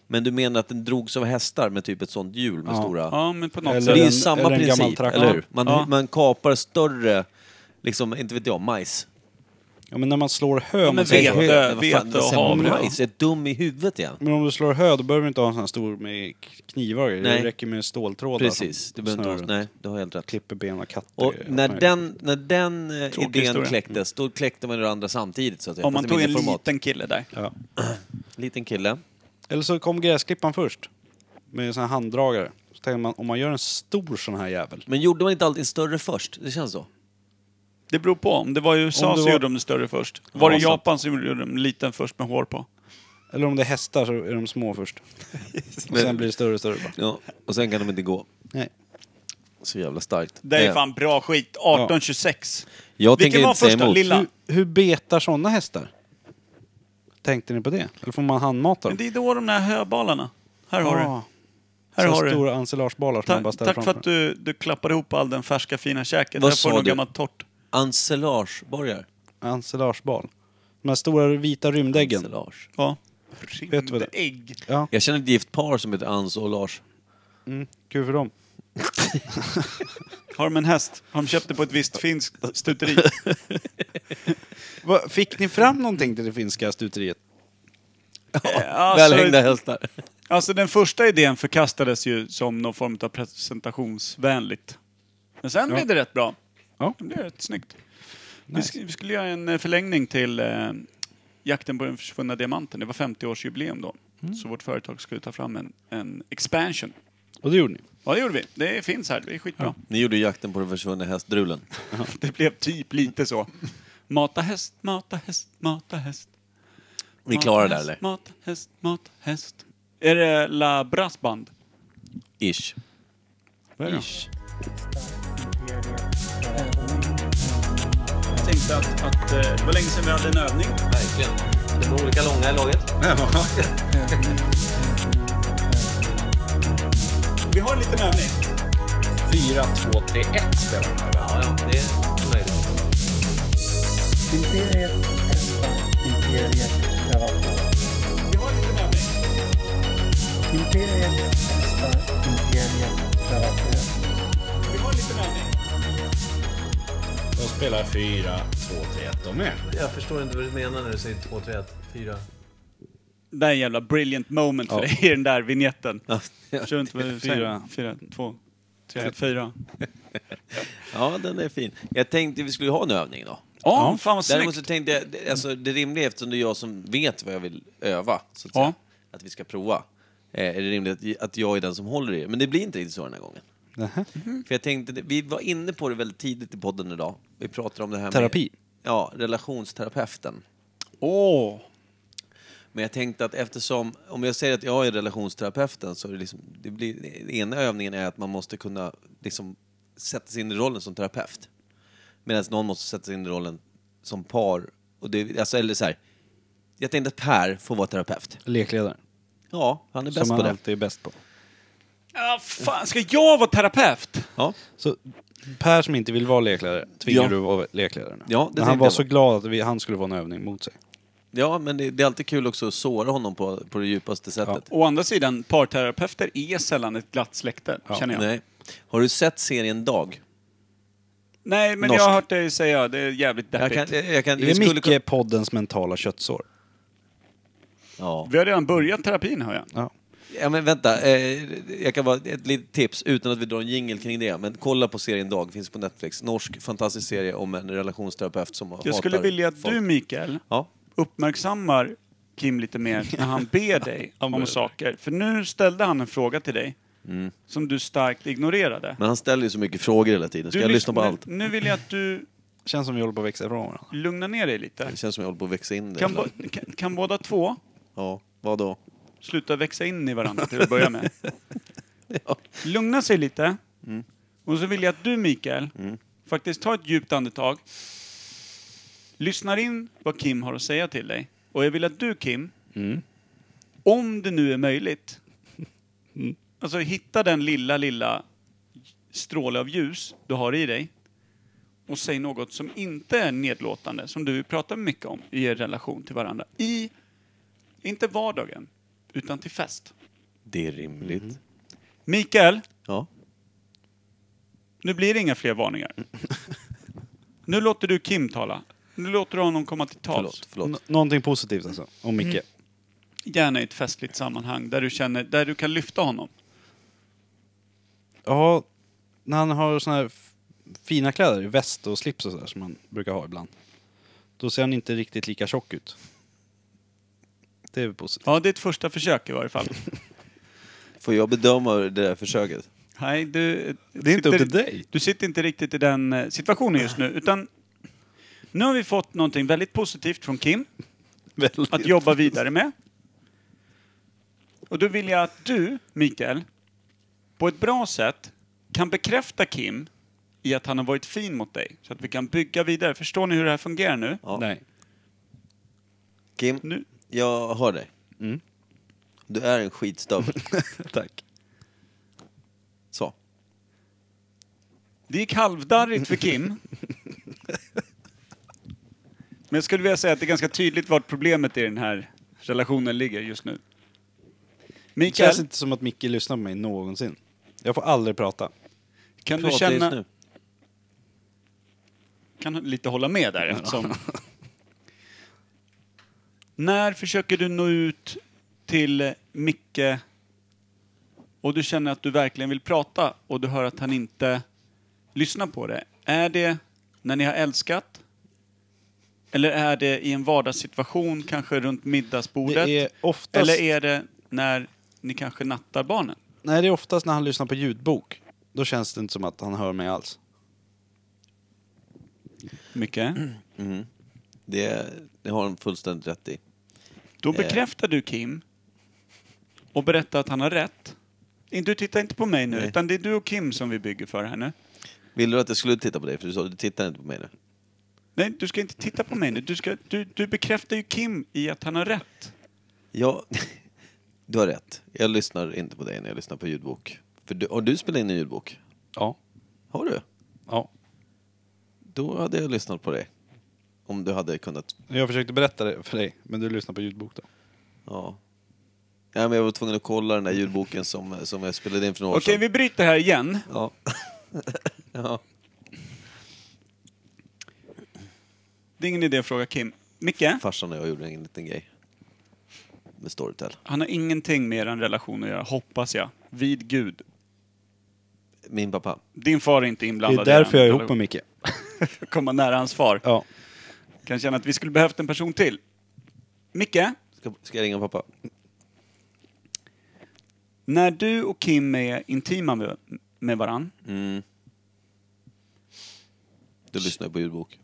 Speaker 1: Men du menar att den drogs av hästar med typ ett sånt hjul med stora...
Speaker 3: Ja, men på något
Speaker 1: Så
Speaker 4: Eller
Speaker 1: det är
Speaker 4: en-
Speaker 1: ju samma
Speaker 4: eller en gammal
Speaker 1: princip,
Speaker 4: traktor.
Speaker 1: eller hur? Man,
Speaker 3: Ja.
Speaker 1: man kapar större, liksom, inte vet jag, majs.
Speaker 4: Ja men när man slår hö...
Speaker 3: men
Speaker 4: man
Speaker 1: Nej,
Speaker 4: säger
Speaker 3: vete,
Speaker 4: så.
Speaker 1: hö- vad fan,
Speaker 3: vete
Speaker 1: vad
Speaker 3: och
Speaker 1: säger man?
Speaker 3: havre, va?
Speaker 1: Majs, är dum i huvudet igen.
Speaker 4: men om du slår hö då behöver du inte ha en sån här stor med knivar och grejer.
Speaker 1: Nej.
Speaker 4: Det räcker med ståltrådar.
Speaker 1: Precis,
Speaker 4: som
Speaker 1: du behöver
Speaker 4: snurrar
Speaker 1: inte...
Speaker 4: runt.
Speaker 1: ha- Nej, du har helt rätt.
Speaker 4: Klipper ben av katter.
Speaker 1: Och
Speaker 4: grejer.
Speaker 1: när
Speaker 4: Nej.
Speaker 1: den, när den eh,
Speaker 3: Tråkig
Speaker 1: idén
Speaker 3: historia.
Speaker 1: kläcktes, då kläckte man det andra samtidigt så att säga.
Speaker 3: Om man
Speaker 1: fast Alltså, i
Speaker 3: tog en
Speaker 1: mindre format.
Speaker 3: liten kille där.
Speaker 4: Ja.
Speaker 1: liten kille.
Speaker 4: Eller så kom gräsklippan först. Med sån här handdragare. Så tänker man, om man gör en stor sån här jävel.
Speaker 1: Men gjorde man inte alltid större först? Det känns så.
Speaker 3: Det beror på. Om det var i USA
Speaker 4: Om det
Speaker 3: så
Speaker 4: var-
Speaker 3: gjorde de det större först. Var det i
Speaker 1: sant.
Speaker 3: Japan så gjorde de den liten först med hår på.
Speaker 4: Eller om det är hästar så är de små först. Och sen blir det större och större bara.
Speaker 1: Ja, och sen kan de inte gå.
Speaker 4: Nej.
Speaker 1: Så jävla starkt.
Speaker 3: Det är
Speaker 1: Eh,
Speaker 3: fan bra skit. 1826.
Speaker 1: Jag
Speaker 3: Vilken
Speaker 1: tänker
Speaker 3: var
Speaker 1: inte säga
Speaker 3: första?
Speaker 1: emot.
Speaker 3: Lilla?
Speaker 4: Hur, hur betar såna hästar? Tänkte ni på det? Eller får man handmata dem?
Speaker 3: Men det är då de där höbalarna. Här har du.
Speaker 4: Ah,
Speaker 3: Här
Speaker 4: så
Speaker 3: har du.
Speaker 4: stora ensilagebalar som man bara
Speaker 3: Ta,
Speaker 4: ställer
Speaker 3: tack för
Speaker 4: framför.
Speaker 3: att du, du klappade ihop all den färska fina käken.
Speaker 1: Vad
Speaker 3: Där får
Speaker 1: sa
Speaker 3: du något
Speaker 1: du?
Speaker 3: gammalt torrt.
Speaker 1: Ensilageborgar.
Speaker 4: Ensilagebal. De här stora vita rymdäggen.
Speaker 1: Ensilage.
Speaker 3: Ja.
Speaker 4: Vet du vad det-
Speaker 3: Ägg.
Speaker 4: Ja,
Speaker 1: Jag känner ett gift par som heter Ans och Lars.
Speaker 4: mm, kul för dem.
Speaker 3: Har de en häst? Har de köpt det på ett visst finskt stuteri?
Speaker 4: Va, fick ni fram någonting till det finska stuteriet?
Speaker 3: alltså,
Speaker 1: Välhängda hästar.
Speaker 3: Alltså den första idén förkastades ju som någon form av presentationsvänligt. Men sen blev det rätt bra.
Speaker 4: Ja.
Speaker 3: Det blev rätt snyggt. Vi, sk- vi skulle göra en eh, förlängning till eh, Jakten på den försvunna diamanten. Det var 50-årsjubileum då. Så vårt företag skulle ta fram en, en expansion.
Speaker 4: Och det gjorde ni?
Speaker 3: Ja, det gjorde vi. Det finns här. Det är skitbra.
Speaker 1: Ni gjorde ju jakten på den försvunna hästdrulen.
Speaker 3: Det blev typ lite så. Mata häst, mata häst, mata häst.
Speaker 1: Ni
Speaker 3: mata
Speaker 1: klarar det
Speaker 3: häst,
Speaker 1: eller?
Speaker 3: Mata häst, mata häst. Är det La Brassband?
Speaker 1: Ish.
Speaker 4: Vad är det?
Speaker 3: Jag tänkte att, att eh, det var länge sedan vi hade en övning.
Speaker 1: Verkligen. De är olika långa i laget.
Speaker 3: vi har en liten övning.
Speaker 9: 4, 2, 3, 1 spelar de här.
Speaker 1: Ja, ja, det är möjligt.
Speaker 9: Imperiet, Espa, Imperiet, Navajo.
Speaker 3: Vi har en liten övning.
Speaker 9: Imperiet, Espa, Imperiet, Navajo.
Speaker 3: Vi har en liten övning.
Speaker 2: De spelar 4, 2, 3, 1 de med.
Speaker 1: Jag förstår inte vad du menar när du säger 2, 3, 1, 4.
Speaker 3: Det är en jävla brilliant moment för dig i den där vignetten.
Speaker 1: Ja, ja.
Speaker 3: Kör inte vad du säger. Fyra, två, tre, fyra.
Speaker 1: ja, den är fin. Jag tänkte vi skulle ha en övning då.
Speaker 3: Ja, fan vad
Speaker 1: Däremot
Speaker 3: snyggt.
Speaker 1: så tänkte jag, det- alltså, det rimliga eftersom det är jag som vet vad jag vill öva, så att,
Speaker 3: Ja.
Speaker 1: säga, att vi ska prova, eh, är det rimligt att- att jag är den som håller i det. Men det blir inte riktigt så den här gången. Mm-hmm. För jag tänkte, det- vi var inne på det väldigt tidigt i podden idag. Vi pratade om det här
Speaker 4: Terapi.
Speaker 1: med... Ja, relationsterapeuten.
Speaker 3: Åh!
Speaker 1: Men jag tänkte att eftersom, om jag säger att jag är relationsterapeuten så är det liksom, det blir, den ena övningen är att man måste kunna liksom sätta sig in i rollen som terapeut. Medan någon måste sätta sig in i rollen som par. Och det, alltså, eller så här, jag tänkte att Per får vara terapeut.
Speaker 4: Lekledare.
Speaker 1: Ja, han är
Speaker 4: Som
Speaker 1: bäst på
Speaker 4: man
Speaker 1: det.
Speaker 4: alltid är bäst på.
Speaker 3: Ja, fan, ska jag vara terapeut?
Speaker 1: Ja.
Speaker 4: Så Per som inte vill vara lekledare, tvingar
Speaker 1: Ja.
Speaker 4: du att vara lekledare nu?
Speaker 1: Ja, det
Speaker 4: Men
Speaker 1: tänkte
Speaker 4: han var
Speaker 1: jag
Speaker 4: så
Speaker 1: på.
Speaker 4: glad att vi, han skulle få en övning mot sig.
Speaker 1: ja, men det, det är alltid kul också att såra honom på, på det djupaste sättet.
Speaker 3: Å andra sidan, parterapeuter är sällan ett glatt släkte, känner jag. Nej,
Speaker 1: Nej. Har du sett serien Dag?
Speaker 3: men
Speaker 1: Norsk.
Speaker 3: jag har hört dig säga det är jävligt
Speaker 1: Jag
Speaker 3: deppigt.
Speaker 1: kan, jag jag kan,
Speaker 4: Är
Speaker 1: vi
Speaker 4: det
Speaker 1: skulle
Speaker 4: Micke
Speaker 1: kun-
Speaker 4: poddens mentala köttsår?
Speaker 1: Ja.
Speaker 3: Vi har redan börjat terapin, hör jag.
Speaker 4: Ja.
Speaker 1: Ja men vänta, eh, jag kan bara ett litet tips utan att vi drar en jingle kring det. Men kolla på serien Dag, finns på Netflix. Norsk, fantastisk serie om en relationsterapeut som hatar
Speaker 3: Jag skulle vilja att
Speaker 1: folk.
Speaker 3: du, Mikael,
Speaker 1: Ja,
Speaker 3: uppmärksammar Kim lite mer när han ber dig om saker. För nu ställde han en fråga till dig som du starkt ignorerade.
Speaker 1: Mm. men han ställer ju så mycket frågor hela tiden. Ska
Speaker 3: Du
Speaker 1: jag lyssna på
Speaker 3: lyssnar-
Speaker 1: allt?
Speaker 3: Nu vill jag att du
Speaker 4: Känns som vi håller på att växa ifrån varandra.
Speaker 3: lugnar ner dig lite.
Speaker 1: Det känns som jag håller på att växa in det.
Speaker 3: Kan,
Speaker 1: ibland.
Speaker 3: bo- kan, kan båda två
Speaker 1: Ja, vadå?
Speaker 3: sluta växa in i varandra till att börja med? Lugna sig lite. Och så vill jag att du, Mikael, faktiskt tar ett djupt andetag. Lyssnar in vad Kim har att säga till dig. Och jag vill att du, Kim, om det nu är möjligt, alltså hitta den lilla, lilla stråle av ljus du har i dig och säg något som inte är nedlåtande, som du pratar mycket om i er relation till varandra. I, inte vardagen, utan till fest.
Speaker 1: Det är rimligt.
Speaker 3: Mm. Mikael,
Speaker 1: Ja.
Speaker 3: nu blir det inga fler varningar. Nu låter du Kim tala. Nu låter du honom komma till tals.
Speaker 1: Förlåt, förlåt.
Speaker 4: Nå- någonting positivt alltså, om Micke.
Speaker 3: Gärna i ett festligt sammanhang där du, känner, där du kan lyfta honom.
Speaker 4: Ja, när han har såna här f- fina kläder, väst och slips och sådär som han brukar ha ibland. Då ser han inte riktigt lika tjock ut. Det är väl positivt.
Speaker 3: Ja, det är ett första försök i varje fall.
Speaker 1: Får jag bedöma det där försöket?
Speaker 3: Nej, du...
Speaker 4: Det är inte upp till dig.
Speaker 3: Du sitter inte riktigt i den eh, situationen just nu, utan nu har vi fått någonting väldigt positivt från Kim att jobba vidare med. Och då vill jag att du, Mikael, på ett bra sätt kan bekräfta Kim i att han har varit fin mot dig, så att vi kan bygga vidare. Förstår ni hur det här fungerar nu?
Speaker 1: Ja.
Speaker 4: Nej.
Speaker 1: Kim,
Speaker 3: Nu. Mm.
Speaker 1: jag hör dig. Du är en skitstövel.
Speaker 4: Tack.
Speaker 1: Så.
Speaker 3: Det gick halvdarrigt för Kim. Men jag skulle vilja säga att det är ganska tydligt vart problemet i den här relationen ligger just nu.
Speaker 4: Det känns
Speaker 3: Mikael,
Speaker 4: inte som att Micke lyssnar på mig någonsin. Jag får aldrig prata.
Speaker 3: kan du
Speaker 1: Prata just nu.
Speaker 3: känna... Kan lite hålla med där eftersom... När försöker du nå ut till Micke och du känner att du verkligen vill prata och du hör att han inte lyssnar på det? Är det när ni har älskat? Eller är det i en vardagssituation, kanske runt middagsbordet?
Speaker 4: Det är oftast-
Speaker 3: Eller är det när ni kanske nattar barnen?
Speaker 4: Nej, det är oftast när han lyssnar på ljudbok. Då känns det inte som att han hör mig alls.
Speaker 3: Micke,
Speaker 1: Det, det har han fullständigt rätt i.
Speaker 3: då
Speaker 4: Eh.
Speaker 3: bekräftar du Kim och berättar att han har rätt. Du tittar inte på mig nu,
Speaker 1: Nej.
Speaker 3: utan det är du och Kim som vi bygger för här nu.
Speaker 1: Vill du att jag skulle titta på dig? För du sa du tittar inte på mig nu.
Speaker 3: Nej, du ska inte titta på mig nu. Du, ska, du, du bekräftar ju Kim i att han har rätt.
Speaker 1: Ja, du har rätt. Jag lyssnar inte på dig när jag lyssnar på ljudbok. För du, har du spelat in en ljudbok?
Speaker 2: Ja.
Speaker 1: Har du?
Speaker 2: ja.
Speaker 1: Då hade jag lyssnat på dig. Om du hade kunnat...
Speaker 4: Jag försökte berätta det för dig, men du lyssnar på ljudbok då.
Speaker 1: Ja. ja men jag var tvungen att kolla den där ljudboken som, som jag spelade in för några år
Speaker 3: Okej,
Speaker 1: sedan.
Speaker 3: vi bryter här igen.
Speaker 1: Ja. ja.
Speaker 3: Det är ingen idé att fråga Kim. Micke,
Speaker 1: Farsan och jag gjorde en liten grej. Med Storytel.
Speaker 3: han har ingenting med er relation att göra, hoppas jag. Vid Gud.
Speaker 1: Min pappa.
Speaker 3: Din far är inte
Speaker 4: Det är
Speaker 3: inblandad
Speaker 4: därför jag är ihop med
Speaker 3: honom.
Speaker 4: Micke.
Speaker 3: komma nära hans far.
Speaker 4: Ja.
Speaker 3: Kan känna att vi skulle behövt en person till. Micke,
Speaker 1: Ska, ska jag ringa pappa?
Speaker 3: när du och Kim är intima med, med varann,
Speaker 1: Du lyssnar ju på ljudbok.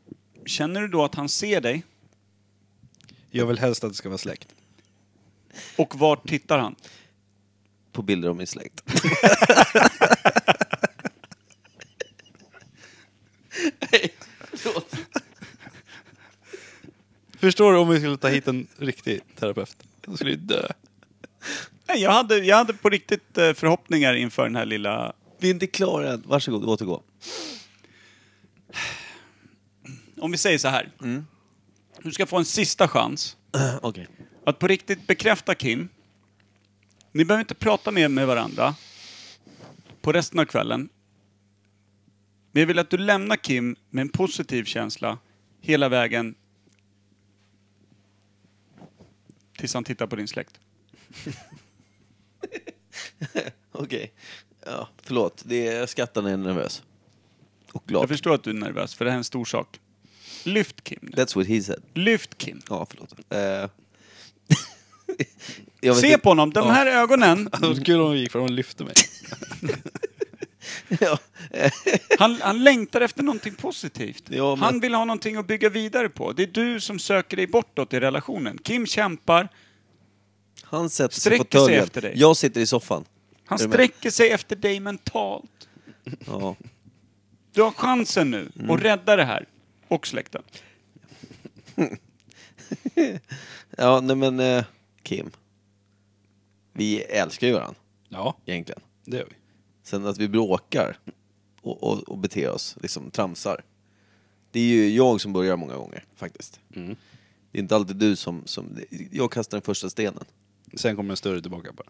Speaker 3: känner du då att han ser dig?
Speaker 4: Jag vill helst att det ska vara släkt.
Speaker 3: Och vart tittar han?
Speaker 1: På bilder av min släkt.
Speaker 4: Förstår du om vi skulle ta hit en riktig terapeut? Han skulle ju dö.
Speaker 3: Nej, jag, hade, jag hade på riktigt eh, förhoppningar inför den här lilla...
Speaker 1: Vi är inte klara än. Varsågod, återgå.
Speaker 3: Om vi säger så här. Du ska få en sista chans
Speaker 1: Okej.
Speaker 3: att på riktigt bekräfta Kim. Ni behöver inte prata mer med varandra på resten av kvällen. Men jag vill att du lämnar Kim med en positiv känsla hela vägen tills han tittar på din släkt.
Speaker 1: Okej. Ja, förlåt. Det är, jag skrattar när jag är nervös. Och glad.
Speaker 3: Jag förstår att du är nervös, för det här är en stor sak. Lyft Kim nu.
Speaker 1: That's what he said.
Speaker 3: Lyft Kim.
Speaker 1: Ja, förlåt. Eh. jag vet
Speaker 3: Se
Speaker 1: inte-
Speaker 3: på honom, de här ögonen.
Speaker 4: Det var kul om hon gick fram och lyfte mig.
Speaker 1: ja.
Speaker 3: Han, han längtar efter någonting positivt.
Speaker 1: Ja, men-
Speaker 3: Han vill ha någonting att bygga vidare på. Det är du som söker dig bortåt i relationen. Kim kämpar,
Speaker 1: Han sätter sig på
Speaker 3: Sträcker sig
Speaker 1: fåtöljen.
Speaker 3: efter dig.
Speaker 1: Jag sitter i soffan.
Speaker 3: han
Speaker 1: Är du med?
Speaker 3: sträcker sig efter dig mentalt.
Speaker 1: Ja.
Speaker 3: Du har chansen nu
Speaker 1: Mm.
Speaker 3: att rädda det här. Och släkten.
Speaker 1: Ja, nej men eh, Kim. Vi älskar ju varandra
Speaker 2: Ja,
Speaker 1: egentligen.
Speaker 2: det gör vi.
Speaker 1: Sen att vi bråkar och, och, och beter oss, liksom tramsar. Det är ju jag som börjar många gånger faktiskt. Det är inte alltid du som, som... Jag kastar den första stenen.
Speaker 4: Sen kommer en större tillbaka bara.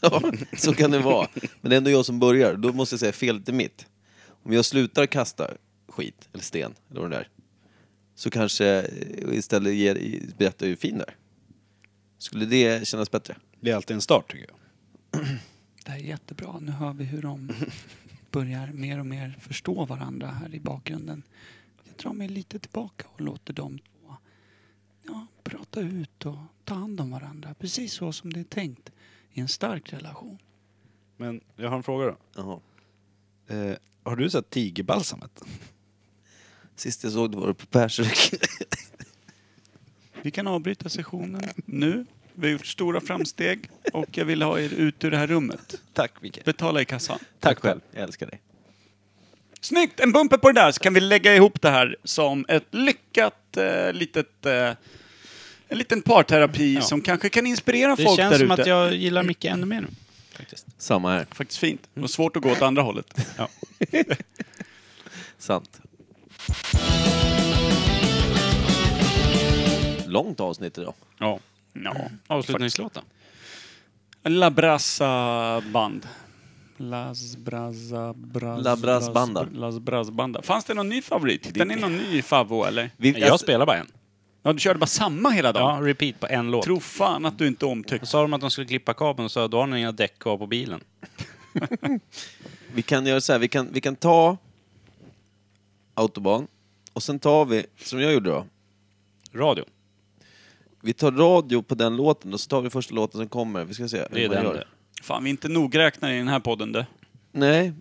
Speaker 1: ja, så kan det vara. Men det är ändå jag som börjar. Då måste jag säga felet är mitt. Om jag slutar kasta skit, eller sten, eller vad det där. Så kanske jag istället ger, berättar hur fin det är. Skulle det kännas bättre?
Speaker 4: Det är alltid en start tycker jag.
Speaker 3: Det här är jättebra. Nu hör vi hur de börjar mer och mer förstå varandra här i bakgrunden. Jag drar mig lite tillbaka och låter dem två ja, prata ut och ta hand om varandra. Precis så som det är tänkt i en stark relation.
Speaker 4: Men jag har en fråga då.
Speaker 1: Jaha.
Speaker 4: Eh, har du sett tigerbalsamet?
Speaker 1: Sist jag såg det var det på Persök.
Speaker 3: Vi kan avbryta sessionen nu. Vi har gjort stora framsteg och jag vill ha er ut ur det här rummet.
Speaker 1: Tack Micke.
Speaker 3: Betala i kassan.
Speaker 1: Tack själv. Jag älskar dig.
Speaker 3: Snyggt! En bumper på det där så kan vi lägga ihop det här som ett lyckat eh, litet... Eh, en liten parterapi som kanske kan inspirera
Speaker 2: Det
Speaker 3: folk
Speaker 2: känns
Speaker 3: där
Speaker 2: som
Speaker 3: ute.
Speaker 2: att jag gillar Micke ännu mer nu. Faktiskt.
Speaker 1: Samma här.
Speaker 3: Faktiskt fint. Det var svårt att gå åt andra hållet.
Speaker 2: Ja.
Speaker 1: Sant. Långt avsnitt idag.
Speaker 2: ja.
Speaker 3: Ja. Mm.
Speaker 2: Avslutningslåten.
Speaker 3: La Brasa Band. Las Brasa Bras,
Speaker 1: La Bras Banda.
Speaker 3: Las Bras Banda. Fanns det någon ny favorit? Hittade ni någon ny favvo eller?
Speaker 1: Vi,
Speaker 2: Jag spelar bara en.
Speaker 3: Ja, du körde bara samma hela dagen.
Speaker 2: Ja, repeat på en låt.
Speaker 3: Tro fan att du inte är
Speaker 2: Då
Speaker 3: omtyckt.
Speaker 2: sa de att de skulle klippa kabeln och sa då har ni inga däck kvar på bilen.
Speaker 1: Vi kan göra så här, vi kan, vi kan ta Autobahn och sen tar vi, som jag gjorde då,
Speaker 2: Radio.
Speaker 1: vi tar radio på den låten och så tar vi första låten som kommer. Vi ska se
Speaker 2: Det är
Speaker 1: hur man
Speaker 2: den.
Speaker 1: gör.
Speaker 2: det.
Speaker 3: Fan, vi är inte nogräknade i den här podden du.
Speaker 1: Nej.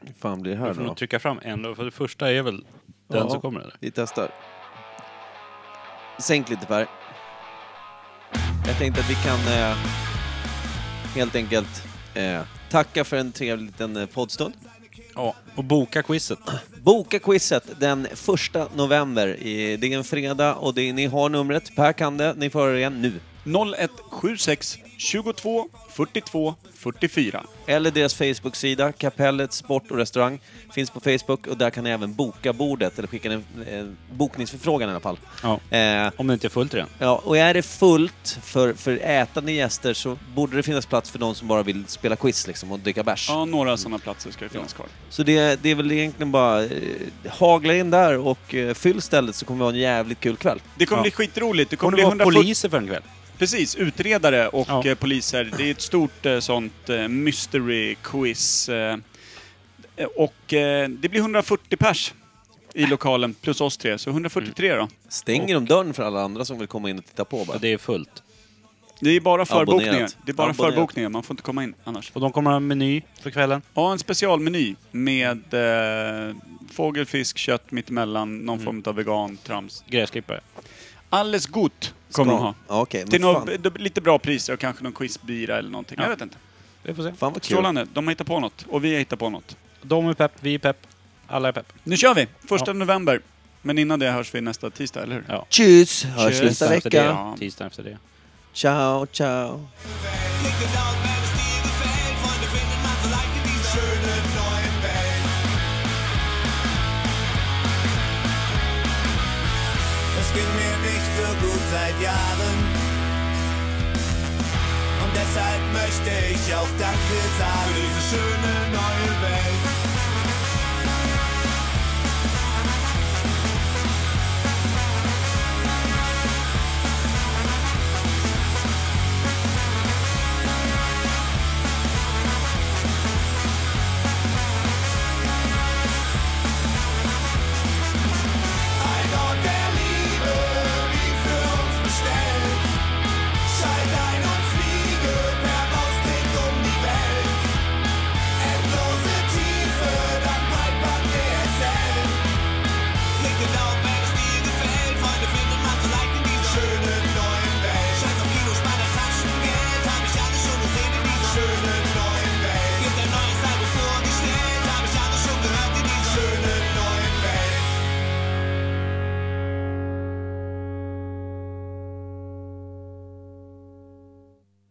Speaker 1: Hur fan blir det här
Speaker 2: Du får
Speaker 1: nu då?
Speaker 2: nog trycka fram en låt, för det första är väl den
Speaker 1: Ja,
Speaker 2: som kommer eller?
Speaker 1: Vi testar. Sänk lite Per. Jag tänkte att vi kan eh, helt enkelt eh, tacka för en trevlig liten eh, poddstund.
Speaker 2: Ja, och boka quizet.
Speaker 1: Boka quizet den 1 november. I- Det är en fredag och det, ni har numret. Per kan det. Ni får höra det igen nu.
Speaker 3: 0176 22 42 44.
Speaker 1: Eller deras Facebook-sida, Kapellet Sport och Restaurang, finns på Facebook och där kan ni även boka bordet, eller skicka en eh, bokningsförfrågan i alla fall.
Speaker 2: Ja.
Speaker 1: Eh,
Speaker 2: Om det inte är fullt redan.
Speaker 1: ja, och är det fullt för, för ätande gäster så borde det finnas plats för de som bara vill spela quiz liksom, och dricka bärs.
Speaker 3: Ja, några sådana platser ska det finnas kvar.
Speaker 1: Så det, det är väl egentligen bara eh, hagla in där och eh, fyll stället så kommer vi ha en jävligt kul kväll.
Speaker 3: Det kommer
Speaker 2: Ja.
Speaker 3: bli skitroligt. Det kommer
Speaker 2: Kommer
Speaker 3: bli
Speaker 2: det vara
Speaker 3: 140...
Speaker 2: poliser för en kväll?
Speaker 3: Precis, utredare och
Speaker 2: Ja.
Speaker 3: eh, poliser. Det är ett stort eh, sånt eh, mystery quiz. eh, Och eh, det blir 140 pers i lokalen, plus oss tre. Så 143
Speaker 2: Mm.
Speaker 3: då.
Speaker 1: Stänger de dörren för alla andra som vill komma in och titta på bara?
Speaker 2: Ja, det är fullt.
Speaker 3: Det är bara förbokningar.
Speaker 1: Abonnerat.
Speaker 3: Det är bara
Speaker 1: Abonnerat.
Speaker 3: förbokningar, man får inte komma in annars.
Speaker 2: Och de kommer ha en meny för kvällen.
Speaker 3: Ja, en specialmeny med eh, fågel, fisk, kött mittemellan, någon form av vegan, trams.
Speaker 2: Gräsklippare.
Speaker 3: Alles gott kommer de ha.
Speaker 1: Ja, Okej,
Speaker 3: Till
Speaker 1: men fan,
Speaker 3: något, lite bra priser och kanske någon quizbira eller någonting. Jag vet inte.
Speaker 2: Vi får se.
Speaker 1: fan vad kul.
Speaker 3: Strålande. De har hittat på något och vi har hittat på något.
Speaker 2: De är pepp, vi är pepp. Alla är pepp.
Speaker 3: Nu kör vi! Första november. Men innan det hörs vi nästa tisdag, eller hur?
Speaker 2: Ja.
Speaker 1: Tjus! Hörs
Speaker 3: Tjus.
Speaker 1: nästa
Speaker 2: Efter det,
Speaker 1: vecka.
Speaker 2: ja. Tisdagen efter det.
Speaker 1: Ciao, ciao.
Speaker 10: Es ging mir nicht so gut seit Jahren. Und deshalb möchte ich auch Danke sagen. Für diese schöne
Speaker 2: um genau,